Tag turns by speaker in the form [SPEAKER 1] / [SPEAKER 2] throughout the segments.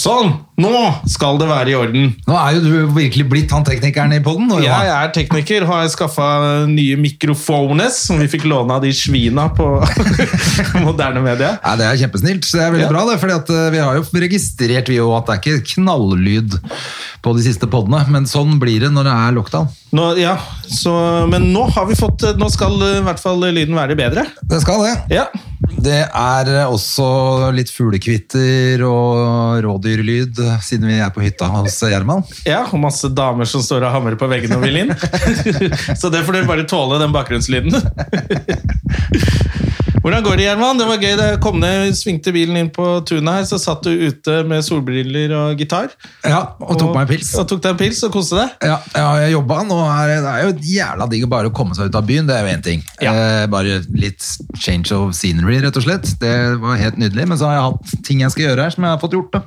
[SPEAKER 1] Sånn! Nå skal det være i orden.
[SPEAKER 2] Nå er jo du virkelig blitt han teknikeren i poden.
[SPEAKER 1] Jeg er tekniker, har skaffa nye mikrofones som vi fikk låne av de svina på moderne media.
[SPEAKER 2] Ja, det er kjempesnilt. så Det er veldig
[SPEAKER 1] Ja.
[SPEAKER 2] bra, det. fordi at eh, vi har jo registrert vi jo, at det er ikke knalllyd på de siste podene. Men sånn blir det når det er lockdown.
[SPEAKER 1] Nå, ja, så, men nå har vi fått Nå skal eh, i hvert fall lyden være bedre.
[SPEAKER 2] Det skal det.
[SPEAKER 1] Ja.
[SPEAKER 2] Det er eh, også litt fuglekvitter og rådyrlyd, eh, siden vi er på hytta hos Gjerman.
[SPEAKER 1] ja, og masse damer som står og hamrer på veggene og vil inn. så det får dere bare tåle, den bakgrunnslyden. Hvordan går det, Gjerman? Det var gøy. Da jeg kom ned, svingte bilen inn på tunet her, så satt du ute med solbriller og gitar.
[SPEAKER 2] Ja, og tok meg en pils.
[SPEAKER 1] Og tok deg en pils og koste deg.
[SPEAKER 2] Ja, ja jeg jobba nå. Er, det er jo jævla digg å bare komme seg ut av byen, det er jo én ting.
[SPEAKER 1] Ja.
[SPEAKER 2] Eh, bare litt change of scenery, rett og slett. Det var helt nydelig. Men så har jeg hatt ting jeg skal gjøre her, som jeg har fått gjort. da.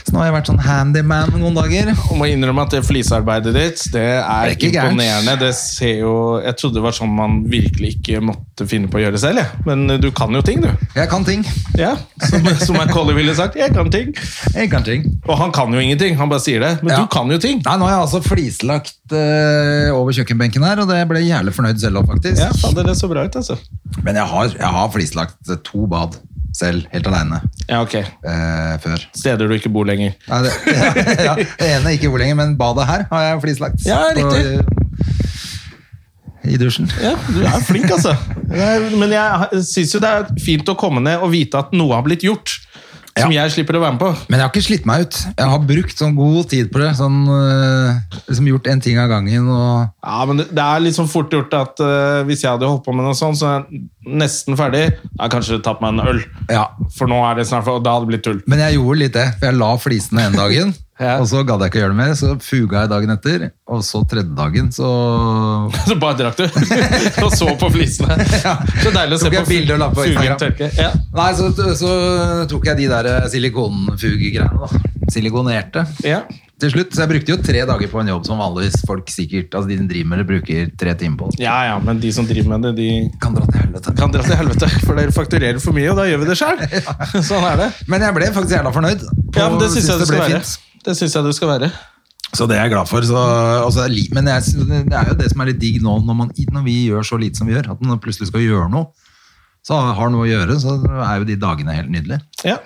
[SPEAKER 2] Så nå har jeg vært sånn handyman noen dager.
[SPEAKER 1] Og må innrømme at det flisarbeidet ditt, det
[SPEAKER 2] Det
[SPEAKER 1] er
[SPEAKER 2] er ikke gærent.
[SPEAKER 1] imponerende. Det ser jo, jeg trodde det var sånn man virkelig ikke måtte finne på å gjøre selv, jeg. men du kan jo ting, du.
[SPEAKER 2] Jeg kan ting.
[SPEAKER 1] Ja, Som, som Macaulay ville sagt, jeg kan ting.
[SPEAKER 2] Jeg kan ting.
[SPEAKER 1] Og han kan jo ingenting, han bare sier det. Men
[SPEAKER 2] Ja.
[SPEAKER 1] du kan jo ting.
[SPEAKER 2] Nei, Nå har jeg altså flislagt eh, over kjøkkenbenken her, og det ble jeg jævlig fornøyd selv om, faktisk.
[SPEAKER 1] Ja, fader, det så bra ut, altså.
[SPEAKER 2] Men jeg har, jeg har flislagt to bad selv, helt aleine,
[SPEAKER 1] Ja, ok.
[SPEAKER 2] eh, før.
[SPEAKER 1] Steder du ikke bor lenger.
[SPEAKER 2] Nei, det, ja, ja, det ene ikke hvor lenger, men badet her har jeg flislagt.
[SPEAKER 1] Ja,
[SPEAKER 2] På-
[SPEAKER 1] riktig.
[SPEAKER 2] I dusjen.
[SPEAKER 1] Ja, du er flink, altså. Nei, Men jeg syns jo det er fint å komme ned og vite at noe har blitt gjort. Som
[SPEAKER 2] Ja.
[SPEAKER 1] jeg slipper å være med på.
[SPEAKER 2] Men jeg har ikke slitt meg ut. Jeg har brukt sånn god tid på det. Sånn, eh, liksom gjort en ting av gangen. Og,
[SPEAKER 1] Ja, men det, det er litt sånn fort gjort at eh, hvis jeg hadde holdt på med noe sånt, så er jeg nesten ferdig. Jeg har kanskje tatt meg en øl,
[SPEAKER 2] ja.
[SPEAKER 1] for nå er det snart for, og da hadde det blitt tull.
[SPEAKER 2] Men jeg gjorde litt det, for jeg la flisene en dagen.
[SPEAKER 1] Ja.
[SPEAKER 2] Og så gadd jeg ikke å gjøre det mer, så fuga jeg dagen etter. Og så tredje dagen, så
[SPEAKER 1] Så bare drakk du og så på flisene.
[SPEAKER 2] Ja.
[SPEAKER 1] Så deilig å se
[SPEAKER 2] Tok jeg
[SPEAKER 1] på
[SPEAKER 2] bilde og la på
[SPEAKER 1] fugen
[SPEAKER 2] Instagram.
[SPEAKER 1] tørke. Ja.
[SPEAKER 2] Nei, så, så tok jeg de der eh, silikonfugegreiene, da. Silikonerte.
[SPEAKER 1] Ja.
[SPEAKER 2] til slutt. Så jeg brukte jo tre dager på en jobb som vanligvis folk sikkert, altså de som driver med det, bruker tre timer på.
[SPEAKER 1] ja, ja, men de som driver med det, de
[SPEAKER 2] Kan dra til helvete.
[SPEAKER 1] kan dra til helvete, for dere fakturerer for mye, og da gjør vi det sjøl. Sånn er det.
[SPEAKER 2] Men jeg ble faktisk jævla fornøyd. på-
[SPEAKER 1] Ja, men det syns jeg du
[SPEAKER 2] ble
[SPEAKER 1] skal være.
[SPEAKER 2] fint.
[SPEAKER 1] Det synes jeg du skal være.
[SPEAKER 2] Så det er jeg glad for. Så, altså, li- men jeg, synes det det er jo det som er litt digg nå, når, man, når vi gjør så lite som vi gjør, at man plutselig skal gjøre noe, så har noe å gjøre, så er jo de dagene helt nydelige.
[SPEAKER 1] Ja.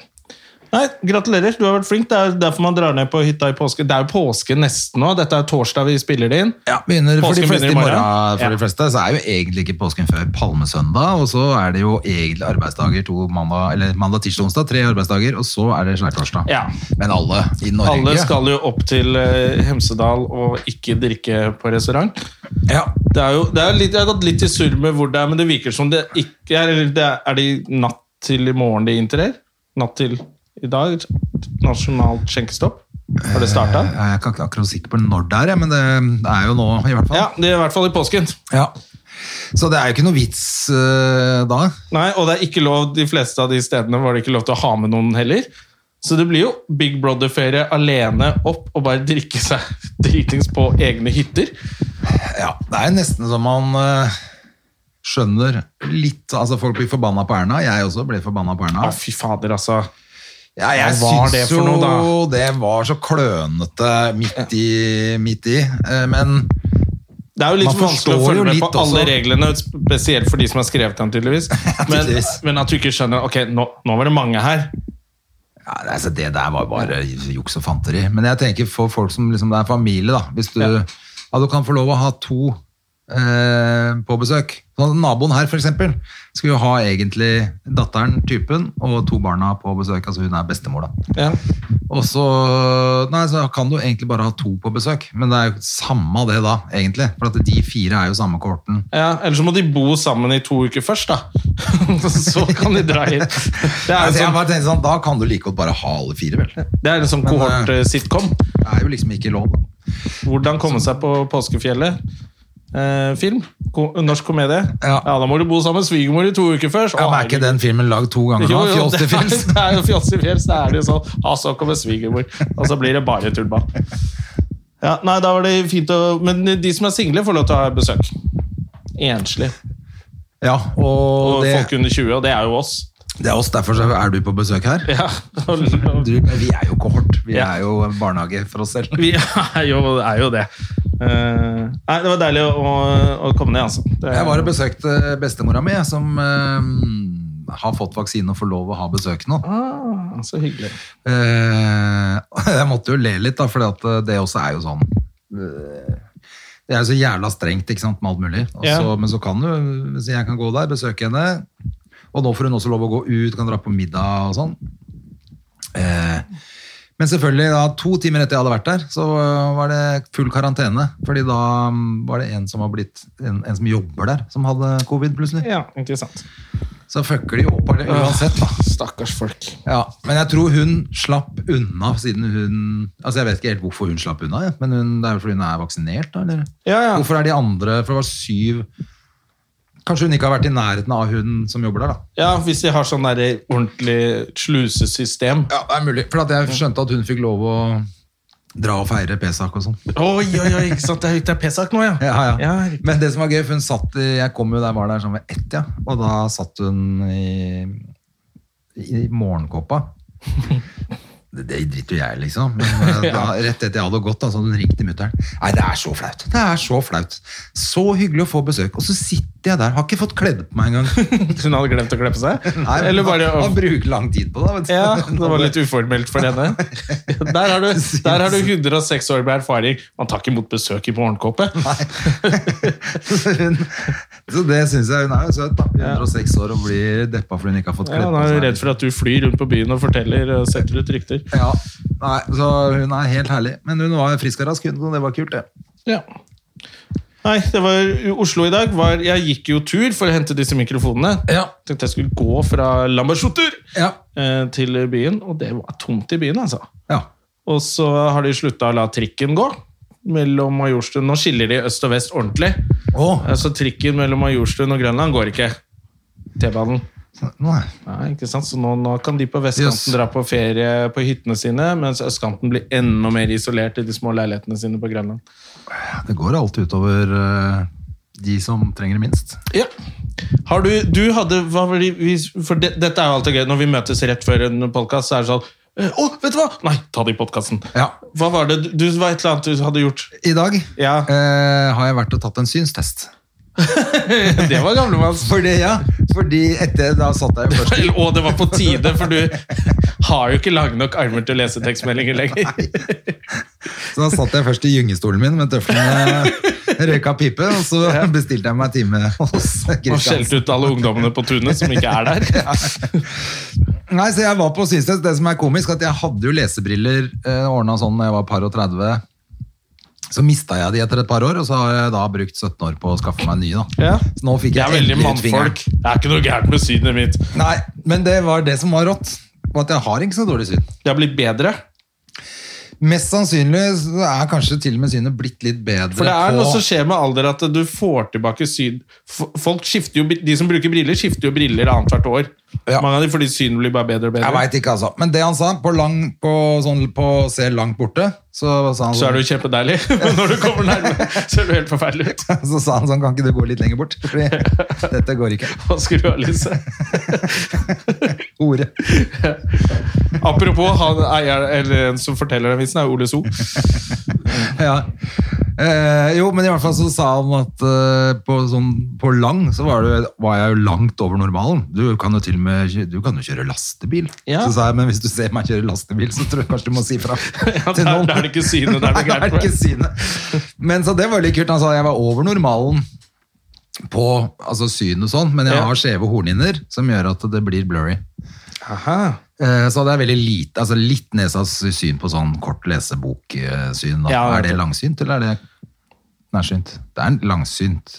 [SPEAKER 1] Nei, Gratulerer, du har vært flink. Det er derfor man drar ned på hytta i påske. Det er jo påske nesten nå. Dette er torsdag vi spiller det inn.
[SPEAKER 2] Ja, begynner, for de
[SPEAKER 1] Påsken
[SPEAKER 2] fleste
[SPEAKER 1] begynner i
[SPEAKER 2] i
[SPEAKER 1] morgen.
[SPEAKER 2] morgen, for
[SPEAKER 1] Ja.
[SPEAKER 2] de fleste, så er jo egentlig ikke påsken før palmesøndag, og så er det jo egentlig arbeidsdager to mandag, eller mandag, tirsdag, onsdag, tre arbeidsdager, og så er det skjærtorsdag.
[SPEAKER 1] Ja.
[SPEAKER 2] Men alle i Norge.
[SPEAKER 1] Alle skal jo opp til eh, Hemsedal og ikke drikke på restaurant.
[SPEAKER 2] Ja,
[SPEAKER 1] Det er jo, det er litt, jeg har gått litt i surr med hvor det er, men det virker som det ikke er eller det Er er det natt til i morgen det inntrer? Natt til i dag? Nasjonalt skjenkestopp? Har det starta?
[SPEAKER 2] jeg er ikke ak- akkurat sikker på når det er, jeg, men det det er jo nå i hvert fall.
[SPEAKER 1] Ja, det er i hvert fall i påsken.
[SPEAKER 2] Ja. Så det er jo ikke noe vits eh, da.
[SPEAKER 1] Nei, og det er ikke lov, de fleste av de stedene var det ikke lov til å ha med noen heller. Så det blir jo Big Brother-ferie alene opp og bare drikke seg dritings på egne hytter.
[SPEAKER 2] Ja, det er jo nesten som man eh, skjønner litt, altså folk blir forbanna på Erna, jeg også ble forbanna på Erna.
[SPEAKER 1] Å, fy fader, altså.
[SPEAKER 2] Ja, jeg
[SPEAKER 1] Hva var
[SPEAKER 2] syns
[SPEAKER 1] det for
[SPEAKER 2] jo
[SPEAKER 1] noe, da?
[SPEAKER 2] det var så klønete midt i, midt i. eh, men
[SPEAKER 1] Det er jo litt
[SPEAKER 2] Man
[SPEAKER 1] vanskelig å
[SPEAKER 2] forstår jo
[SPEAKER 1] følge med
[SPEAKER 2] litt
[SPEAKER 1] på alle
[SPEAKER 2] også.
[SPEAKER 1] reglene, spesielt for de som har skrevet dem, tydeligvis. Men,
[SPEAKER 2] tydeligvis.
[SPEAKER 1] men at du ikke skjønner Ok, nå, nå var det mange her.
[SPEAKER 2] ja, altså, det der var bare juks og fanteri. Men jeg tenker for folk som liksom, det er familie, da. Hvis du, ja. du kan få lov å ha to eh, på besøk. Så naboen her, for eksempel, skulle jo ha egentlig datteren, typen, og to barna på besøk. Altså hun er bestemor, da.
[SPEAKER 1] Ja.
[SPEAKER 2] Og så, nei, så kan du egentlig bare ha to på besøk, men det er jo samme det da, egentlig. For at de fire er jo samme kohorten.
[SPEAKER 1] Ja, Eller så må de bo sammen i to uker først, da. så kan de dra inn. Det er
[SPEAKER 2] Altså, jeg
[SPEAKER 1] jo
[SPEAKER 2] bare tenkte sånn, Da kan du like godt bare ha alle fire, vel. Det
[SPEAKER 1] sånn, sånn
[SPEAKER 2] Men, eh,
[SPEAKER 1] kohort-sitcom.
[SPEAKER 2] er jo liksom ikke lov. da.
[SPEAKER 1] Hvordan komme seg på påskefjellet. Eh, film. Ko norsk komedie. Ja.
[SPEAKER 2] Ja.
[SPEAKER 1] da må du bo sammen med svigermor i to uker først.
[SPEAKER 2] Ja,
[SPEAKER 1] Å,
[SPEAKER 2] men er ikke den filmen lagd to ganger nå?
[SPEAKER 1] Jo, jo,
[SPEAKER 2] Fjols
[SPEAKER 1] det
[SPEAKER 2] til
[SPEAKER 1] er,
[SPEAKER 2] fjells.
[SPEAKER 1] det er jo fjols til fjells. Da er det jo sånn. Ja, så kommer svigermor, og så blir det bare tullball. Ja, nei, da var det fint å Men de som er single, får lov til å ha besøk. Enslige.
[SPEAKER 2] Ja, og
[SPEAKER 1] Og
[SPEAKER 2] det,
[SPEAKER 1] folk under 20, og det er jo oss.
[SPEAKER 2] det er oss, derfor så er du på besøk her.
[SPEAKER 1] Ja, og,
[SPEAKER 2] Du, men vi er jo kohort. Vi
[SPEAKER 1] Ja.
[SPEAKER 2] er jo en barnehage for oss selv.
[SPEAKER 1] vi er jo, er jo det. Eh, nei, det var deilig å, å komme ned, altså. Det-
[SPEAKER 2] Jeg var og besøkte bestemora mi, som eh, har fått vaksine og får lov å ha besøk nå.
[SPEAKER 1] ah, Så hyggelig.
[SPEAKER 2] Eh, jeg måtte jo le litt, da, for det også er jo sånn eh, Det er jo så jævla strengt ikke sant, med alt mulig. Og
[SPEAKER 1] Ja.
[SPEAKER 2] så, Men så kan du så jeg kan gå der, besøke henne. Og nå får hun også lov å gå ut, kan dra på middag og sånn. Eh, men selvfølgelig, da, to timer etter jeg hadde vært der, så eh, var det full karantene. Fordi da mm, var det en som har blitt en, en som jobber der, som hadde covid plutselig.
[SPEAKER 1] Ja, interessant.
[SPEAKER 2] Så fucker de jo opp av det uansett, da.
[SPEAKER 1] Stakkars folk.
[SPEAKER 2] Ja, men jeg tror hun slapp unna siden hun Altså jeg vet ikke helt hvorfor hun slapp unna, ja. men hun, det er jo fordi hun er vaksinert, da? Eller?
[SPEAKER 1] Ja, ja.
[SPEAKER 2] Hvorfor er de andre For det var syv Kanskje hun ikke har vært i nærheten av hun som jobber der, da.
[SPEAKER 1] Ja, hvis de har sånn der ordentlig slusesystem.
[SPEAKER 2] Ja, det er mulig. For at jeg skjønte at hun fikk lov å dra og feire Pesach og sånn.
[SPEAKER 1] Oi, oi, oi, ikke sant? Det er, det er Pesach nå, ja.
[SPEAKER 2] Ja, ja.
[SPEAKER 1] riktig.
[SPEAKER 2] Men det som var gøy, for hun satt i, Jeg kom jo der var der sånn ved ett, ja. Og da satt hun i, i morgenkåpa. Det, det driter jo jeg, liksom. Men eh, da, rett etter jeg hadde gått, da, så hadde hun ringt til mutter'n. Nei, det er så flaut. Det er så flaut. Så hyggelig å få besøk. Og så sitter jeg der, har ikke fått kledd på meg engang.
[SPEAKER 1] Hun hadde glemt å kleppe seg?
[SPEAKER 2] Nei,
[SPEAKER 1] Eller
[SPEAKER 2] man-
[SPEAKER 1] bare
[SPEAKER 2] Man bruker lang tid på det. vet du.
[SPEAKER 1] Ja, det var litt uformelt for henne. Der har du, der har du 106 år med erfaring. Man tar ikke imot besøk i morgenkåpe.
[SPEAKER 2] Så hun- så det syns jeg hun er jo søt, da. 106 år og blir deppa fordi hun ikke har fått
[SPEAKER 1] Ja,
[SPEAKER 2] kledd
[SPEAKER 1] nå
[SPEAKER 2] på
[SPEAKER 1] er
[SPEAKER 2] seg.
[SPEAKER 1] hun redd for at du flyr rundt på byen og forteller og setter ut rykter.
[SPEAKER 2] Ja, nei, så hun er helt herlig. Men hun var frisk og rask, hun, og det var kult, det.
[SPEAKER 1] Ja. Nei, det var Oslo i dag. Var, jeg gikk jo tur for å hente disse mikrofonene.
[SPEAKER 2] Ja.
[SPEAKER 1] Tenkte jeg skulle gå fra Lambertseter
[SPEAKER 2] Ja.
[SPEAKER 1] eh, til byen, og det var tomt i byen, altså.
[SPEAKER 2] Ja,
[SPEAKER 1] Og så har de slutta å la trikken gå mellom Majorstuen. Nå skiller de øst og vest ordentlig.
[SPEAKER 2] Åh.
[SPEAKER 1] Altså trikken mellom Majorstuen og Grønland går ikke. T-banen.
[SPEAKER 2] Nei.
[SPEAKER 1] Nei, ikke sant? Så nå, nå kan de på vestkanten
[SPEAKER 2] Yes.
[SPEAKER 1] dra på ferie på hyttene sine, mens østkanten blir enda mer isolert i de små leilighetene sine på Grønland.
[SPEAKER 2] Det går alltid utover eh, de som trenger det minst.
[SPEAKER 1] Ja. Har du, du hadde hva var det, vi, For det, dette er jo alltid gøy. Når vi møtes rett før en podkast, så er det sånn eh, Å, vet du hva! Nei, ta det i podkasten.
[SPEAKER 2] Ja.
[SPEAKER 1] Hva var det du, du var et eller annet du hadde gjort?
[SPEAKER 2] I dag
[SPEAKER 1] Ja.
[SPEAKER 2] eh, har jeg vært og tatt en synstest.
[SPEAKER 1] Det var gamlemanns.
[SPEAKER 2] Fordi, ja, fordi etter da satt jeg jo først
[SPEAKER 1] Vel, Og det var på tide, for du har jo ikke lange nok armer til å lese tekstmeldinger lenger.
[SPEAKER 2] Så da satt jeg først i gyngestolen min med tøflene røyka pipe, og så bestilte jeg meg time hos
[SPEAKER 1] Og
[SPEAKER 2] Kristiansen.
[SPEAKER 1] skjelte ut alle ungdommene på tunet som ikke er der.
[SPEAKER 2] Nei, så jeg var på synstest. Det som er komisk, at jeg hadde jo lesebriller eh, ordna sånn da jeg var par og 30. Så mista jeg de etter et par år, og så har jeg da brukt 17 år på å skaffe meg nye. da.
[SPEAKER 1] Ja.
[SPEAKER 2] Så nå fikk
[SPEAKER 1] Jeg
[SPEAKER 2] jeg,
[SPEAKER 1] er veldig
[SPEAKER 2] endelig ut fingeren.
[SPEAKER 1] mannfolk. Det er ikke noe gærent med synet mitt.
[SPEAKER 2] Nei, men det var det som var rått. Og at jeg har ikke så dårlig syn.
[SPEAKER 1] Det har blitt bedre.
[SPEAKER 2] Mest sannsynlig så er kanskje til og med synet blitt litt bedre
[SPEAKER 1] For det er
[SPEAKER 2] på
[SPEAKER 1] noe som skjer med alder, at du får tilbake syn F- Folk skifter jo, De som bruker briller, skifter jo briller annethvert år.
[SPEAKER 2] Ja.
[SPEAKER 1] Mange av de fordi synet blir bare bedre og
[SPEAKER 2] Jeg
[SPEAKER 1] bedre.
[SPEAKER 2] veit ikke, altså. Men det han sa, på, lang, på, sånn, på å se langt borte, så sa han
[SPEAKER 1] Så
[SPEAKER 2] sånn-
[SPEAKER 1] er du kjempedeilig, men når du kommer nærme, ser du helt forferdelig ut.
[SPEAKER 2] så sa han sånn, kan ikke du gå litt lenger bort? Fordi dette går ikke.
[SPEAKER 1] Hva skulle du ha, Lise?
[SPEAKER 2] Ordet.
[SPEAKER 1] Apropos han eier, eller en som forteller den vitsen, er Ole So.
[SPEAKER 2] ja. Eh, jo, men i hvert fall så sa han at eh, på, sånn, på lang så var, det, var jeg jo langt over normalen. Du kan jo til og med kjø- du kan jo kjøre lastebil.
[SPEAKER 1] Ja.
[SPEAKER 2] Så sa jeg, men hvis du ser meg kjøre lastebil, så tror jeg kanskje du må si fra.
[SPEAKER 1] Ja, der- der er det ikke synet, der er det
[SPEAKER 2] Nei, der
[SPEAKER 1] gærent
[SPEAKER 2] er det ikke synet. Men så det var litt kult. Han sa jeg var over normalen på altså syn og sånn, men jeg
[SPEAKER 1] Ja.
[SPEAKER 2] har skjeve hornhinner som gjør at det blir blurry.
[SPEAKER 1] Aha.
[SPEAKER 2] Eh, Så det er veldig lite, altså litt nesas syn på sånn kort leseboksyn. da.
[SPEAKER 1] Ja,
[SPEAKER 2] er det
[SPEAKER 1] nettopp.
[SPEAKER 2] langsynt, eller er det nærsynt? Det er langsynt.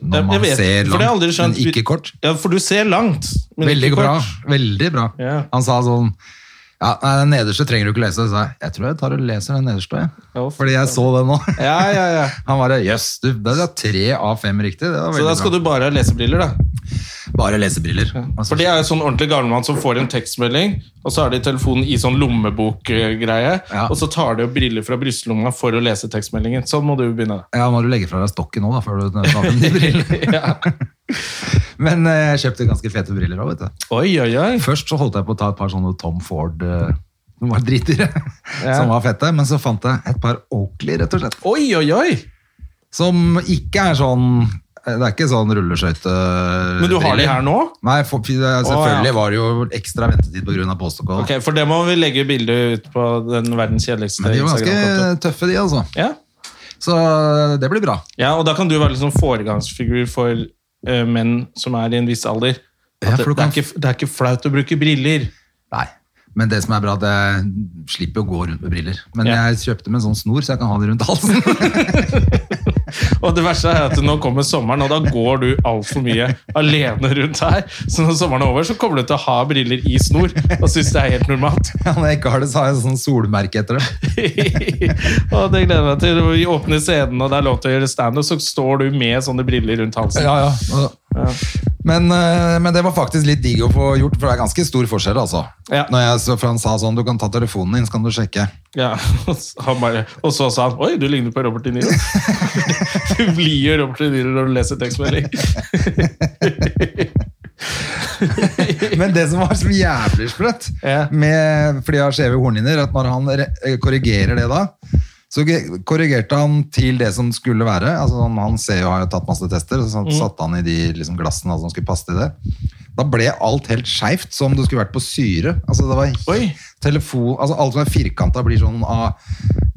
[SPEAKER 2] Når
[SPEAKER 1] Jeg-
[SPEAKER 2] man
[SPEAKER 1] jeg vet,
[SPEAKER 2] ser
[SPEAKER 1] for det har jeg
[SPEAKER 2] langt,
[SPEAKER 1] aldri skjønt.
[SPEAKER 2] men ikke kort.
[SPEAKER 1] Ja, for du ser langt, men
[SPEAKER 2] Veldig
[SPEAKER 1] ikke
[SPEAKER 2] bra.
[SPEAKER 1] kort.
[SPEAKER 2] Veldig bra.
[SPEAKER 1] Ja.
[SPEAKER 2] Han sa sånn ja, nei, Den nederste trenger du ikke lese. Så sa jeg jeg tror jeg tar og leser den nederste.
[SPEAKER 1] Ja,
[SPEAKER 2] Jeg. Fordi jeg så den nå.
[SPEAKER 1] Ja, ja, ja.
[SPEAKER 2] Han bare jøss, du, det er tre av fem riktig. Det var
[SPEAKER 1] Så da
[SPEAKER 2] veldig
[SPEAKER 1] skal
[SPEAKER 2] bra.
[SPEAKER 1] du bare ha lesebriller, da.
[SPEAKER 2] Bare lesebriller. Altså,
[SPEAKER 1] For det er jo sånn ordentlig gamlemann som får en tekstmelding, og så har de telefonen i sånn lommebokgreie,
[SPEAKER 2] Ja.
[SPEAKER 1] og så tar de jo briller fra brystlomma for å lese tekstmeldingen. Sånn må du begynne.
[SPEAKER 2] Ja, må du legge fra deg stokken nå, da, før du tar på nye briller.
[SPEAKER 1] Ja.
[SPEAKER 2] Men eh, jeg kjøpte ganske fete briller òg, vet du.
[SPEAKER 1] Oi, oi, oi.
[SPEAKER 2] Først så holdt jeg på å ta et par sånne Tom Ford eh, som var dritdyre,
[SPEAKER 1] Ja.
[SPEAKER 2] som var fette. Men så fant jeg et par Oakley, rett og slett.
[SPEAKER 1] Oi, oi, oi.
[SPEAKER 2] Som ikke er sånn Det er ikke sånn rulleskøyte eh,
[SPEAKER 1] Men du har de her nå?
[SPEAKER 2] Nei, for, eh,
[SPEAKER 1] Å,
[SPEAKER 2] selvfølgelig
[SPEAKER 1] ja.
[SPEAKER 2] var det jo ekstra ventetid pga. postokål.
[SPEAKER 1] Ok, For det må vi legge bildet ut på den verdens kjedeligste
[SPEAKER 2] Men de var
[SPEAKER 1] Instagram-konto.
[SPEAKER 2] ganske tøffe, de, altså.
[SPEAKER 1] Ja.
[SPEAKER 2] Så eh, det blir bra.
[SPEAKER 1] ja, og da kan du være litt sånn foregangsfigur for eh, menn som er i en viss alder. At
[SPEAKER 2] Ja,
[SPEAKER 1] det,
[SPEAKER 2] for du
[SPEAKER 1] det,
[SPEAKER 2] kan-
[SPEAKER 1] er ikke, det er ikke flaut å bruke briller.
[SPEAKER 2] Nei. Men det som er bra, at jeg slipper å gå rundt med briller. Men
[SPEAKER 1] Ja.
[SPEAKER 2] jeg kjøpte med en sånn snor, så jeg kan ha det rundt halsen.
[SPEAKER 1] Og det verste er at nå kommer sommeren, og da går du altfor mye alene rundt her. Så når sommeren er over, så kommer du til å ha briller i snor og synes det er helt normalt.
[SPEAKER 2] Ja, Når jeg ikke har det, så har jeg sånn solmerke etter det.
[SPEAKER 1] og det gleder jeg meg til. Vi åpner scenen, og det er lov til å gjøre standup, så står du med sånne briller rundt halsen.
[SPEAKER 2] Ja, ja. Men, eh, men det var faktisk litt digg å få gjort, for det er ganske stor forskjell, altså.
[SPEAKER 1] Ja.
[SPEAKER 2] Når jeg, så- for han sa sånn, du kan ta telefonen din, så kan du sjekke.
[SPEAKER 1] Ja, og så- han bare, og så sa han Oi, du ligner på Robert De Niro. Du blir jo Robert De Niro når du leser tekstmelding.
[SPEAKER 2] Men det som var så jævlig sprøtt,
[SPEAKER 1] Ja.
[SPEAKER 2] med, fordi jeg har skjeve hornhinner, at når han re- eh, korrigerer det da, så ge- korrigerte han til det som skulle være. Altså, han- han ser jo, har jo tatt masse tester, og
[SPEAKER 1] Mm.
[SPEAKER 2] så satte han i de liksom, glassene som skulle passe til det. Da ble alt helt skjevt, som om det skulle vært på syre. Altså, det var he-
[SPEAKER 1] Oi.
[SPEAKER 2] telefon, altså, alt som er firkanta blir sånn ah,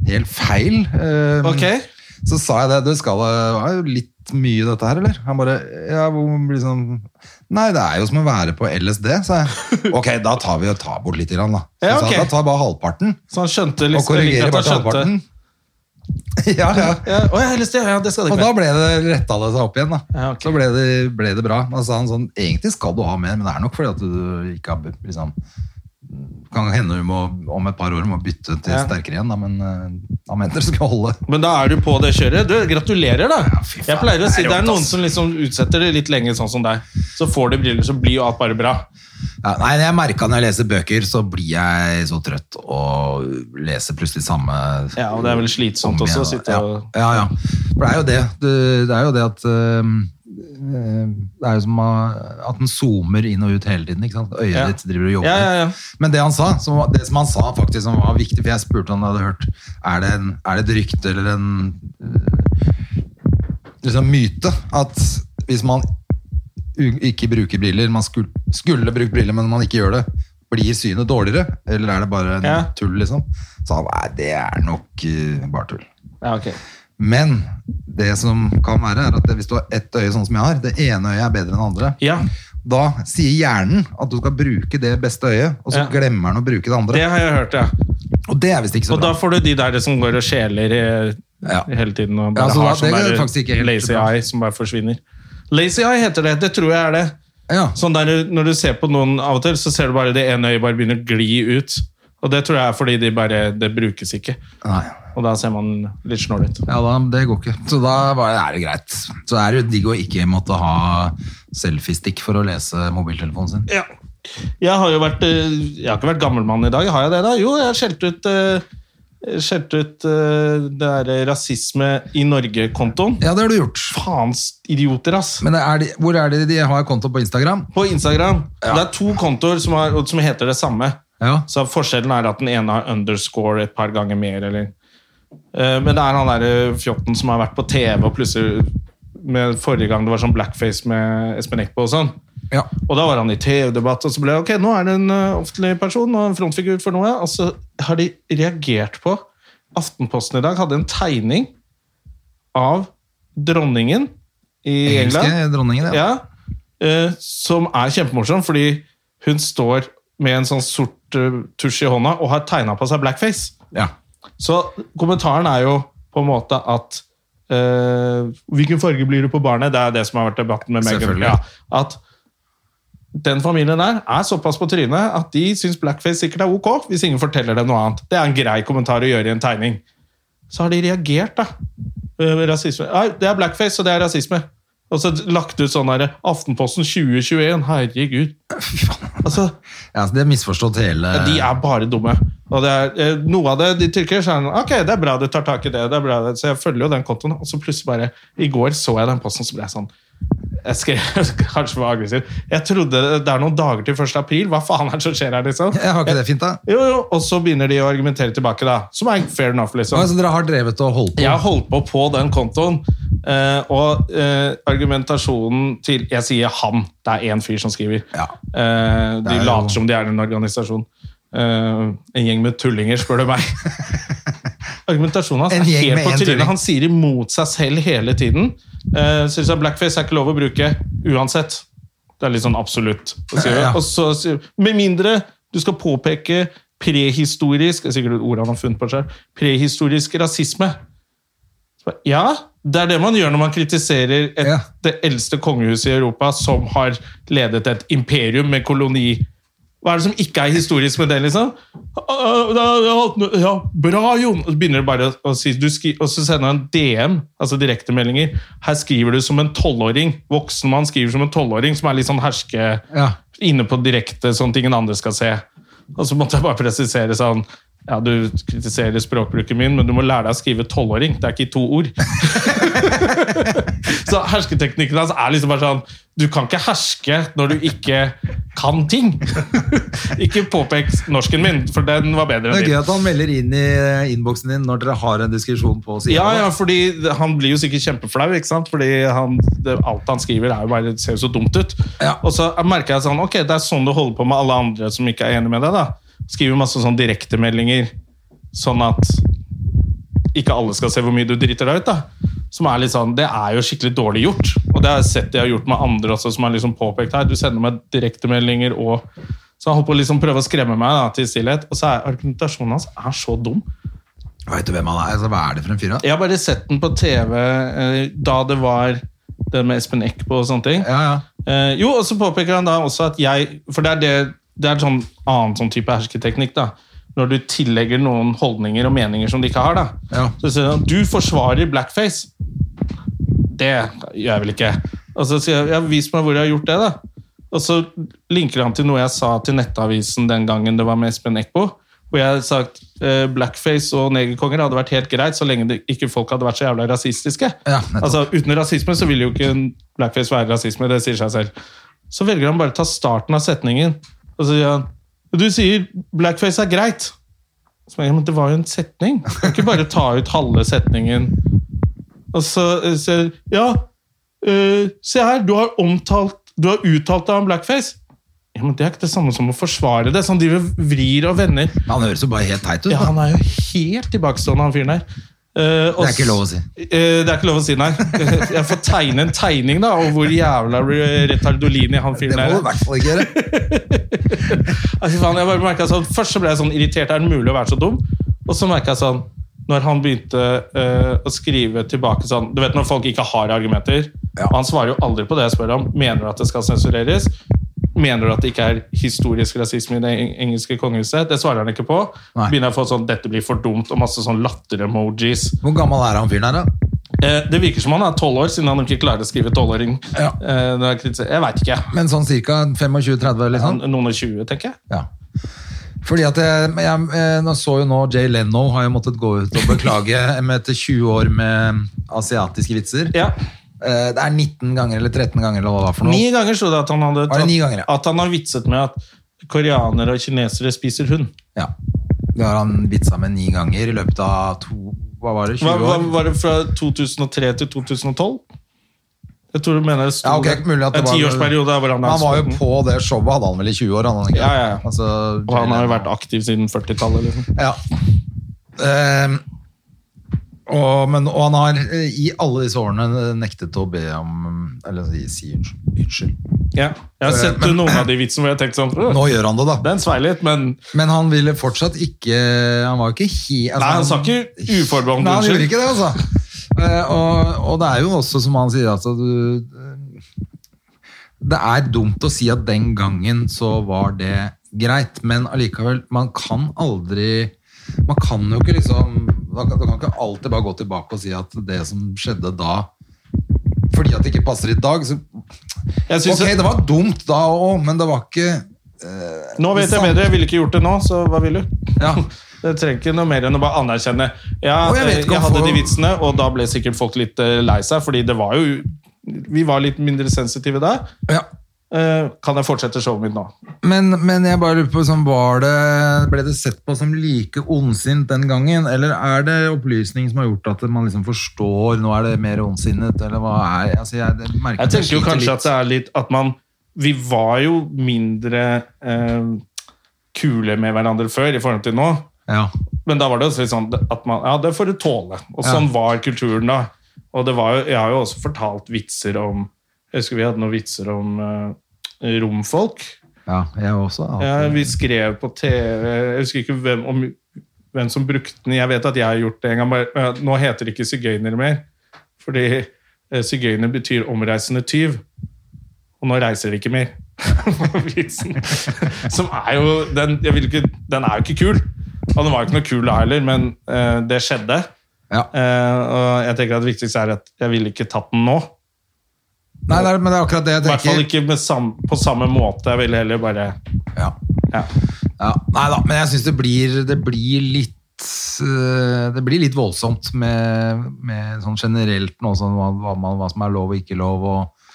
[SPEAKER 2] helt feil. Um,
[SPEAKER 1] Ok.
[SPEAKER 2] Så sa jeg det, du skal det var jo litt mye dette her, eller? Han bare, ja, hvor blir det sånn Nei, det er jo som å være på LSD, sa jeg. Ok, da tar vi og tar bort litt, grann, da. Så
[SPEAKER 1] Ja,
[SPEAKER 2] jeg sa,
[SPEAKER 1] ok.
[SPEAKER 2] da tar jeg bare halvparten,
[SPEAKER 1] Så han skjønte liksom
[SPEAKER 2] og korrigerer
[SPEAKER 1] jeg liker
[SPEAKER 2] bare
[SPEAKER 1] at han skjønte-
[SPEAKER 2] halvparten. Ja, ja.
[SPEAKER 1] Ja, å, jeg har lyst til, ja, det skal det
[SPEAKER 2] Og
[SPEAKER 1] ikke
[SPEAKER 2] da
[SPEAKER 1] være.
[SPEAKER 2] ble det retta det seg opp igjen, da.
[SPEAKER 1] Ja, ok.
[SPEAKER 2] Så ble det, ble det bra. Da sa han sånn, egentlig skal du ha mer, men det er nok fordi at du ikke har liksom kan hende du må, om et par år må bytte til
[SPEAKER 1] Ja.
[SPEAKER 2] sterkere igjen, da, men eh, han mente det skulle holde.
[SPEAKER 1] Men da er du på det kjøret. Du, gratulerer, da.
[SPEAKER 2] fy faen,
[SPEAKER 1] jeg pleier å
[SPEAKER 2] det
[SPEAKER 1] si
[SPEAKER 2] er
[SPEAKER 1] det er
[SPEAKER 2] rått,
[SPEAKER 1] noen
[SPEAKER 2] ass.
[SPEAKER 1] som liksom utsetter det litt lenge, sånn som deg. Så får de briller, så blir jo alt bare bra.
[SPEAKER 2] Ja, nei, jeg merka når jeg leser bøker, så blir jeg så trøtt og leser plutselig samme
[SPEAKER 1] Ja, og det er vel slitsomt
[SPEAKER 2] om
[SPEAKER 1] også å
[SPEAKER 2] igjen.
[SPEAKER 1] sitte og
[SPEAKER 2] ja, ja, ja. For det er jo det. Du, det er jo det at øhm, øh, Det er jo som å- at den zoomer inn og ut hele tiden. Ikke sant? Øyet
[SPEAKER 1] Ja.
[SPEAKER 2] ditt driver og jobber.
[SPEAKER 1] Ja, ja, ja.
[SPEAKER 2] Men det han sa, som, var- det som han sa faktisk som var viktig, for jeg spurte om han hadde hørt Er det, en, er det et rykte eller en øh, liksom myte at hvis man u- ikke bruker briller, man skulle, skulle brukt briller, men man ikke gjør det, blir synet dårligere? Eller er det bare en
[SPEAKER 1] Ja.
[SPEAKER 2] tull, liksom? Så han, nei, det er nok øh, bare tull.
[SPEAKER 1] ja ok.
[SPEAKER 2] Men det som kan være, er at hvis du har ett øye sånn som jeg har, det ene øyet er bedre enn det andre,
[SPEAKER 1] Ja,
[SPEAKER 2] da sier hjernen at du skal bruke det beste øyet, og så
[SPEAKER 1] Ja.
[SPEAKER 2] glemmer den å bruke det andre.
[SPEAKER 1] det har jeg hørt, ja.
[SPEAKER 2] Og det er visst ikke så
[SPEAKER 1] Og da
[SPEAKER 2] bra.
[SPEAKER 1] får du de der som går og skjeler eh,
[SPEAKER 2] Ja.
[SPEAKER 1] hele tiden og
[SPEAKER 2] Ja,
[SPEAKER 1] bare
[SPEAKER 2] så da-
[SPEAKER 1] har
[SPEAKER 2] det
[SPEAKER 1] sånn
[SPEAKER 2] er
[SPEAKER 1] der
[SPEAKER 2] faktisk ikke helt
[SPEAKER 1] lazy
[SPEAKER 2] bra.
[SPEAKER 1] eye som bare forsvinner. Lazy eye heter det. Det tror jeg er det.
[SPEAKER 2] Ja.
[SPEAKER 1] Sånn der, Når du ser på noen av og til, så ser du bare det ene øyet bare begynner å gli ut. Og det tror jeg er fordi de bare, det brukes ikke.
[SPEAKER 2] Nei.
[SPEAKER 1] Og da ser man litt snål ut.
[SPEAKER 2] Ja, da, det går ikke. Så da bare, er det greit. Så er det jo digg å ikke måtte ha selfiestikk for å lese mobiltelefonen sin.
[SPEAKER 1] Ja. Jeg har jo vært eh, Jeg har ikke vært gammelmann i dag, har jeg det? da? Jo, jeg har skjelt ut eh, Skjelt ut eh, det derre rasisme i Norge-kontoen.
[SPEAKER 2] Ja, det har du gjort.
[SPEAKER 1] Faens idioter, ass!
[SPEAKER 2] Men er de, hvor er det de har konto på Instagram?
[SPEAKER 1] På Instagram. Det er to kontoer som, har, som heter det samme.
[SPEAKER 2] Ja.
[SPEAKER 1] Så forskjellen er at den ene har underscore et par ganger mer, eller Eh, Men det er han derre fjotten som har vært på TV, og plutselig med Forrige gang det var sånn blackface med Espen Eckbo og sånn.
[SPEAKER 2] ja.
[SPEAKER 1] Og da var han i TV-debatt, og så ble det ok, nå er det en eh, offentlig person og en frontfigur for noe. Og så har de reagert på Aftenposten i dag hadde en tegning av dronningen i England.
[SPEAKER 2] Engelske dronningen, ja.
[SPEAKER 1] Ja. Eh, som er kjempemorsom, fordi hun står med en sånn sort eh, tusj i hånda og har tegna på seg blackface.
[SPEAKER 2] ja.
[SPEAKER 1] Så kommentaren er jo på en måte at eh, Hvilken farge blir du på barnet? Det er det som har vært debatten med Meghan.
[SPEAKER 2] Selvfølgelig.
[SPEAKER 1] Ja, at den familien der er såpass på trynet at de syns blackface sikkert er ok, hvis ingen forteller dem noe annet. Det er en grei kommentar å gjøre i en tegning. Så har de reagert, da. Eh, Rasisme. Nei, det er blackface, og det er rasisme. Og så lagt ut sånn derre Aftenposten 2021. Herregud. Altså,
[SPEAKER 2] ja så de har misforstått hele
[SPEAKER 1] ja, de er bare dumme. Og det er, eh, noe av det de trykker, så er det ok, det er bra du tar tak i det. det er bra. det». Så jeg følger jo den kontoen, og så plutselig bare I går så jeg den posten, så ble jeg sånn jeg skrev, kanskje var aggressiv. Jeg trodde det er noen dager til 1. april. Hva faen er det som skjer her, liksom?
[SPEAKER 2] Ja, Har ikke det fint, da?
[SPEAKER 1] Jo, jo, Og så begynner de å argumentere tilbake, da. Som er fair enough, liksom.
[SPEAKER 2] Altså, Ja, så dere har drevet og holdt på?
[SPEAKER 1] Jeg har holdt på på den kontoen, eh, og eh, argumentasjonen til Jeg sier han. Det er én fyr som skriver.
[SPEAKER 2] Ja.
[SPEAKER 1] Eh,
[SPEAKER 2] Det
[SPEAKER 1] de
[SPEAKER 2] er jo-
[SPEAKER 1] later som de er en organisasjon. Eh, en gjeng med tullinger, spør du meg. Argumentasjonen hans
[SPEAKER 2] En
[SPEAKER 1] er
[SPEAKER 2] gjeng
[SPEAKER 1] helt
[SPEAKER 2] med
[SPEAKER 1] på
[SPEAKER 2] en
[SPEAKER 1] trynet.
[SPEAKER 2] tulling.
[SPEAKER 1] Han sier imot seg selv hele tiden. Eh, Syns at blackface er ikke lov å bruke uansett. Det er litt sånn absolutt. Og, sier,
[SPEAKER 2] Ja.
[SPEAKER 1] og så sier Med mindre du skal påpeke prehistorisk det er Sikkert ordet han har funnet på selv. Prehistorisk rasisme. Så bare, Ja, det er det man gjør når man kritiserer et,
[SPEAKER 2] Ja.
[SPEAKER 1] det eldste kongehuset i Europa, som har ledet et imperium med koloni. Hva er det som ikke er historisk med det, liksom? «Ah, det er- det er alt noe- Ja, bra, Jon! Og så begynner det bare å si du skri, Og så sender han DM, altså direktemeldinger. Her skriver du som en tolvåring. Voksen mann skriver som en tolvåring, som er litt sånn herske
[SPEAKER 2] Ja.
[SPEAKER 1] inne på direkte, sånn at ingen andre skal se. Og så måtte jeg bare presisere sånn Ja, du kritiserer språkbruken min, men du må lære deg å skrive 12-åring. Det er ikke i to ord. så hersketeknikken hans er liksom bare sånn Du kan ikke herske når du ikke kan ting. ikke påpek norsken min, for den var
[SPEAKER 2] Det
[SPEAKER 1] bedre enn
[SPEAKER 2] er
[SPEAKER 1] din.
[SPEAKER 2] gøy at han melder inn i innboksen din når dere har en diskusjon på siden.
[SPEAKER 1] Ja, ja, fordi han blir jo sikkert kjempeflau, ikke sant? Fordi han, det, alt han skriver er jo bare, det ser jo så dumt ut.
[SPEAKER 2] Ja.
[SPEAKER 1] Og så merker jeg sånn, ok, det er sånn du holder på med alle andre som ikke er enig med deg, da. Skriver masse sånn direktemeldinger, sånn at ikke alle skal se hvor mye du driter deg ut, da. Som er litt sånn, det er jo skikkelig dårlig gjort. Og det har jeg sett jeg har gjort med andre også, som har liksom påpekt her. Du sender meg direktemeldinger og Så han holdt på å liksom prøve å skremme meg da, til stillhet. Og så er argumentasjonen hans er så dum.
[SPEAKER 2] Vet du hvem han er? Altså, hva er det for en fyr, da?
[SPEAKER 1] Jeg har bare sett den på TV eh, da det var den med Espen Eckbo og sånne ting.
[SPEAKER 2] Ja, ja.
[SPEAKER 1] Eh, jo, og så påpeker han da også at jeg For det er, det, det er en sånn annen sånn type hersketeknikk, da. Når du tillegger noen holdninger og meninger som de ikke har, da.
[SPEAKER 2] Ja.
[SPEAKER 1] Så sier han du forsvarer blackface. Det gjør jeg vel ikke. Og så sier jeg ja, vis meg hvor jeg har gjort det, da. Og så linker han til noe jeg sa til Nettavisen den gangen det var med Espen Eckbo. Hvor jeg hadde sagt eh, blackface og negerkonger hadde vært helt greit så lenge det, ikke folk hadde vært så jævla rasistiske.
[SPEAKER 2] Ja, nettopp.
[SPEAKER 1] altså Uten rasisme så vil jo ikke en blackface være rasisme, det sier seg selv. Så velger han bare å ta starten av setningen, og så sier han Du sier blackface er greit. Så jeg, ja, men det var jo en setning. Du kan ikke bare ta ut halve setningen. Og så eh, sier Ja, eh, se her, du har omtalt Du har uttalt deg om blackface. Ja, men Det er ikke det samme som å forsvare det. Sånn driver vrir og vender.
[SPEAKER 2] Men Han høres jo bare helt teit ut.
[SPEAKER 1] Ja,
[SPEAKER 2] da.
[SPEAKER 1] Han er jo helt tilbakestående, han fyren der. Eh, og
[SPEAKER 2] Det er ikke lov å si.
[SPEAKER 1] Eh, det er ikke lov å si, nei. Jeg får tegne en tegning da, om hvor jævla retardolini han
[SPEAKER 2] Det
[SPEAKER 1] fyren
[SPEAKER 2] må
[SPEAKER 1] er.
[SPEAKER 2] du i hvert fall ikke gjøre.
[SPEAKER 1] Altså, fy faen, jeg bare merket sånn, Først så ble jeg sånn irritert. Er det mulig å være så dum? Og så merka jeg sånn Når han begynte eh, å skrive tilbake sånn Du vet når folk ikke har argumenter?
[SPEAKER 2] Ja.
[SPEAKER 1] Og han svarer jo aldri på det jeg spør om. Mener du at det skal sensureres? Mener du at det ikke er historisk rasisme i det eng- engelske kongehuset? Det svarer han ikke på.
[SPEAKER 2] Nei.
[SPEAKER 1] Begynner jeg å få sånn 'dette blir for dumt' og masse sånn latter-emojis.
[SPEAKER 2] Hvor gammel er han fyren her, da?
[SPEAKER 1] Eh, det virker som han er tolv år, siden han ikke klarer å skrive tolvåring.
[SPEAKER 2] Ja.
[SPEAKER 1] Eh, når jeg kritiserer- jeg veit ikke.
[SPEAKER 2] Men sånn cirka 25-30, eller sånn?
[SPEAKER 1] Han, noen og tjue, tenker jeg.
[SPEAKER 2] Ja. Fordi at jeg, jeg, eh, nå så jo nå Jay Leno har jo måttet gå ut og beklage med etter 20 år med asiatiske vitser.
[SPEAKER 1] Ja.
[SPEAKER 2] Eh, Det er 19 ganger eller 13 ganger eller hva det var for noe.
[SPEAKER 1] Ni ganger sto det at han hadde
[SPEAKER 2] Var det ni ganger, ja?
[SPEAKER 1] at han har vitset med at koreanere og kinesere spiser hund.
[SPEAKER 2] Ja. Det har han vitsa med ni ganger i løpet av to Hva var det? 20
[SPEAKER 1] Hva,
[SPEAKER 2] år?
[SPEAKER 1] hva, var det fra 2003 til 2012? Jeg tror du mener det sto
[SPEAKER 2] Ja, ok, mulig at det
[SPEAKER 1] en
[SPEAKER 2] var-
[SPEAKER 1] tiårsperiode. hvor
[SPEAKER 2] Men han var jo
[SPEAKER 1] spilte
[SPEAKER 2] på det showet, hadde han vel i 20 år? Hadde han ikke?
[SPEAKER 1] Ja, ja, ja.
[SPEAKER 2] Altså,
[SPEAKER 1] den. Og han har jo vært aktiv siden 40-tallet. Liksom.
[SPEAKER 2] Ja. Ehm, Og, men, og han har eh, i alle disse årene nektet å be om Eller si, si unnskyld. unnskyld.
[SPEAKER 1] Ja. Jeg har sett noen av de vitsene hvor jeg har tenkt sånn
[SPEAKER 2] Nå
[SPEAKER 1] «Åh,
[SPEAKER 2] gjør han det, da.
[SPEAKER 1] Den svei litt, men
[SPEAKER 2] Men han ville fortsatt ikke Han var jo ikke he... altså,
[SPEAKER 1] Nei, han sa ikke uforbeholden
[SPEAKER 2] Nei, han gjorde
[SPEAKER 1] unnskyld.
[SPEAKER 2] ikke det, altså. Eh, og, og det er jo også som han sier, altså du, Det er dumt å si at den gangen så var det greit, men allikevel, man kan aldri Man kan jo ikke liksom Man kan, man kan ikke alltid bare gå tilbake og si at det som skjedde da fordi at det ikke passer i dag. Så,
[SPEAKER 1] Jeg synes-
[SPEAKER 2] ok, det var dumt da òg, men det var ikke
[SPEAKER 1] Nå vet jeg bedre, jeg ville ikke gjort det nå, så hva vil du?
[SPEAKER 2] ja.
[SPEAKER 1] Det trenger ikke noe mer enn å bare anerkjenne. Ja, eh,
[SPEAKER 2] Og jeg
[SPEAKER 1] jeg,
[SPEAKER 2] vet ikke om
[SPEAKER 1] hadde
[SPEAKER 2] folk-
[SPEAKER 1] de vitsene, og da ble sikkert folk litt eh, lei seg, fordi det var jo Vi var litt mindre sensitive da.
[SPEAKER 2] ja.
[SPEAKER 1] Eh, Kan jeg fortsette showet mitt nå?
[SPEAKER 2] Men, men jeg bare lurer på, sånn, var det, ble det sett på som like ondsinnet den gangen, eller er det opplysning som har gjort at man liksom forstår, nå er det mer ondsinnet, eller hva er altså, jeg, det merker
[SPEAKER 1] Jeg tenker jo
[SPEAKER 2] sliter
[SPEAKER 1] kanskje
[SPEAKER 2] litt.
[SPEAKER 1] at det er litt at man Vi var jo mindre eh, kule med hverandre før i forhold til nå.
[SPEAKER 2] Ja,
[SPEAKER 1] Men da var det også litt sånn at man Ja, det får du tåle. Og sånn var kulturen da. Og det var jo Jeg har jo også fortalt vitser om Jeg husker vi hadde noen vitser om eh, romfolk.
[SPEAKER 2] ja, jeg også. alltid.
[SPEAKER 1] Ja, vi skrev på TV Jeg husker ikke hvem, om, hvem som brukte den. Jeg vet at jeg har gjort det en gang. bare- eh, Nå heter det ikke sigøyner mer. Fordi eh, sigøyner betyr omreisende tyv. Og nå reiser de ikke mer. Vitsen. Som er jo den, jeg vil ikke, den er jo ikke kul. Og den var jo ikke noe kul da heller, men eh, det skjedde.
[SPEAKER 2] Ja.
[SPEAKER 1] Eh, og jeg tenker at det viktigste er at jeg ville ikke tatt den nå.
[SPEAKER 2] Nei, det er, men det er akkurat det jeg
[SPEAKER 1] I hvert fall
[SPEAKER 2] tenker.
[SPEAKER 1] ikke med sam, på samme måte. Jeg ville heller bare
[SPEAKER 2] Ja.
[SPEAKER 1] ja.
[SPEAKER 2] Ja. Nei da, men jeg synes det blir, det blir litt øh, det blir litt voldsomt med, med sånn generelt nå, sånn, hva, hva, man, hva som er lov og ikke lov og,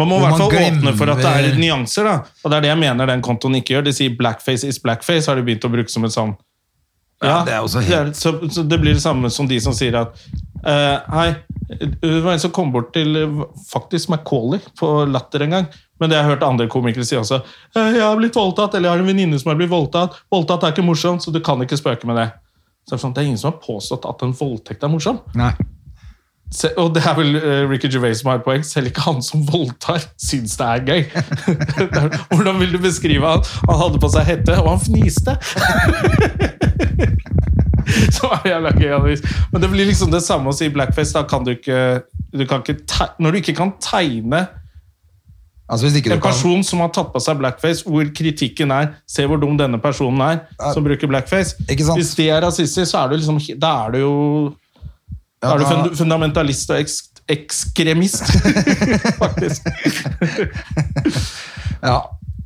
[SPEAKER 1] Man må i
[SPEAKER 2] Hvor
[SPEAKER 1] hvert
[SPEAKER 2] man
[SPEAKER 1] fall åpne for at det er
[SPEAKER 2] glemmer-
[SPEAKER 1] nyanser. da. Og det er det jeg mener den kontoen ikke gjør. De sier 'blackface is blackface', har de begynt å bruke som et sånn
[SPEAKER 2] Ja, det er også helt-
[SPEAKER 1] det er- så, så det blir det samme som de som sier at eh, Hei, det var en som kom bort til eh, faktisk Macaulay på Latter en gang. Men det jeg har hørt andre komikere si også. «Eh, 'Jeg har blitt voldtatt', eller 'jeg har en venninne som har blitt voldtatt'. Voldtatt er ikke morsomt, så du kan ikke spøke med det. Så det er sånn, Det er ingen som har påstått at en voldtekt er morsom.
[SPEAKER 2] nei.
[SPEAKER 1] Se, og det er vel eh, Ricky Gervais som har et poeng. Selv ikke han som voldtar, syns det er gøy. Det er- Hvordan vil du beskrive han? Han hadde på seg hette, og han fniste! Så var det jævla gøy. Anders. Men det blir liksom det samme å si blackface. Da kan du ikke, du kan ikke teg- Når du ikke kan tegne
[SPEAKER 2] Altså hvis ikke
[SPEAKER 1] en
[SPEAKER 2] du kan...
[SPEAKER 1] person som har tatt på seg blackface, hvor kritikken er 'se hvor dum denne personen er som bruker blackface',
[SPEAKER 2] Ikke sant?
[SPEAKER 1] hvis det er rasistisk, så er du liksom Da er du jo da
[SPEAKER 2] Ja,
[SPEAKER 1] er du
[SPEAKER 2] da-
[SPEAKER 1] fund fundamentalist og eks ekskremist, faktisk.
[SPEAKER 2] Ja,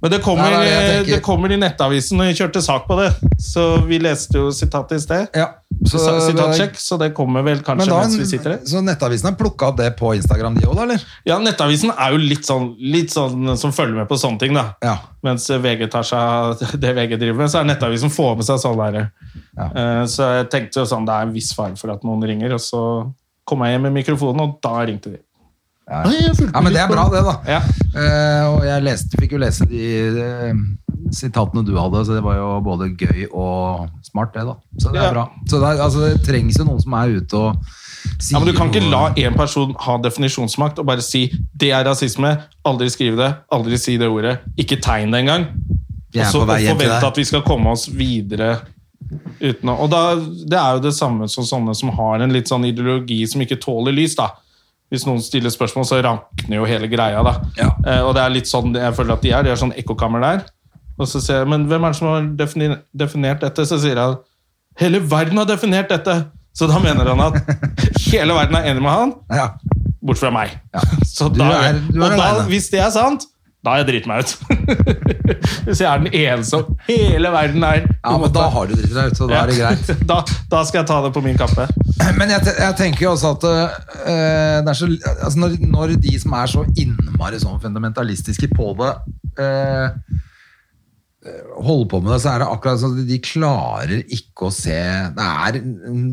[SPEAKER 1] Men det kommer,
[SPEAKER 2] Nei, nei, jeg tenker-
[SPEAKER 1] det kommer i Nettavisen, og jeg kjørte sak på det. Så vi leste jo sitatet i sted.
[SPEAKER 2] Ja,
[SPEAKER 1] Så, Sitatsjekk, så det kommer vel
[SPEAKER 2] Men
[SPEAKER 1] kanskje
[SPEAKER 2] da,
[SPEAKER 1] mens vi sitter her.
[SPEAKER 2] så Nettavisen har plukka opp det på Instagram, de òg, da? eller?
[SPEAKER 1] Ja, Nettavisen er jo litt sånn, litt sånn som følger med på sånne ting, da.
[SPEAKER 2] Ja.
[SPEAKER 1] Mens VG tar seg av det VG driver med, så er Nettavisen får med seg sånn der.
[SPEAKER 2] Ja.
[SPEAKER 1] Eh, Så jeg tenkte jo sånn, det er en viss fare for at noen ringer, og så kom jeg hjem med mikrofonen, og da ringte de.
[SPEAKER 2] Ja,
[SPEAKER 1] Nei, jeg fulgte
[SPEAKER 2] ja, men det er
[SPEAKER 1] litt
[SPEAKER 2] bra,
[SPEAKER 1] på-
[SPEAKER 2] det, da.
[SPEAKER 1] Ja.
[SPEAKER 2] Eh, og jeg leste, fikk jo lese de eh, sitatene du hadde, så det var jo både gøy og smart, det, da. Så det er
[SPEAKER 1] Ja.
[SPEAKER 2] bra. Så det, er, altså, det trengs jo noen som er ute og sier
[SPEAKER 1] Ja, men Du kan ikke
[SPEAKER 2] noe.
[SPEAKER 1] la en person ha definisjonsmakt og bare si 'det er rasisme', aldri skrive det, aldri si det ordet, ikke tegn det engang.
[SPEAKER 2] Vi er
[SPEAKER 1] Og så-
[SPEAKER 2] på vei
[SPEAKER 1] og
[SPEAKER 2] hjem til
[SPEAKER 1] forvente
[SPEAKER 2] deg.
[SPEAKER 1] at vi skal komme oss videre uten å Og da, det er jo det samme som sånne som har en litt sånn ideologi som ikke tåler lys, da. Hvis noen stiller spørsmål, så rakner jo hele greia, da.
[SPEAKER 2] Ja.
[SPEAKER 1] Eh, og det er litt sånn jeg føler at de er. De har sånn ekkokammer der. Og så sier jeg, men hvem er det som har defini- definert dette? Så sier jeg hele verden har definert dette! Så da mener han at hele verden er enig med han,
[SPEAKER 2] Ja.
[SPEAKER 1] bort fra meg.
[SPEAKER 2] Ja.
[SPEAKER 1] Så
[SPEAKER 2] Du
[SPEAKER 1] da,
[SPEAKER 2] er- du er
[SPEAKER 1] og da,
[SPEAKER 2] alene.
[SPEAKER 1] hvis det er sant, da er jeg driter meg ut. hvis jeg er den eneste om hele verden er
[SPEAKER 2] ja, men da har du driti deg ut, så da er det
[SPEAKER 1] Ja.
[SPEAKER 2] greit.
[SPEAKER 1] da, da skal jeg ta det på min kappe.
[SPEAKER 2] Men jeg, te- jeg tenker jo også at eh, det er så, altså når, når de som er så innmari sånn fundamentalistiske på det, eh, holder på med det, så er det akkurat sånn at de klarer ikke å se det er,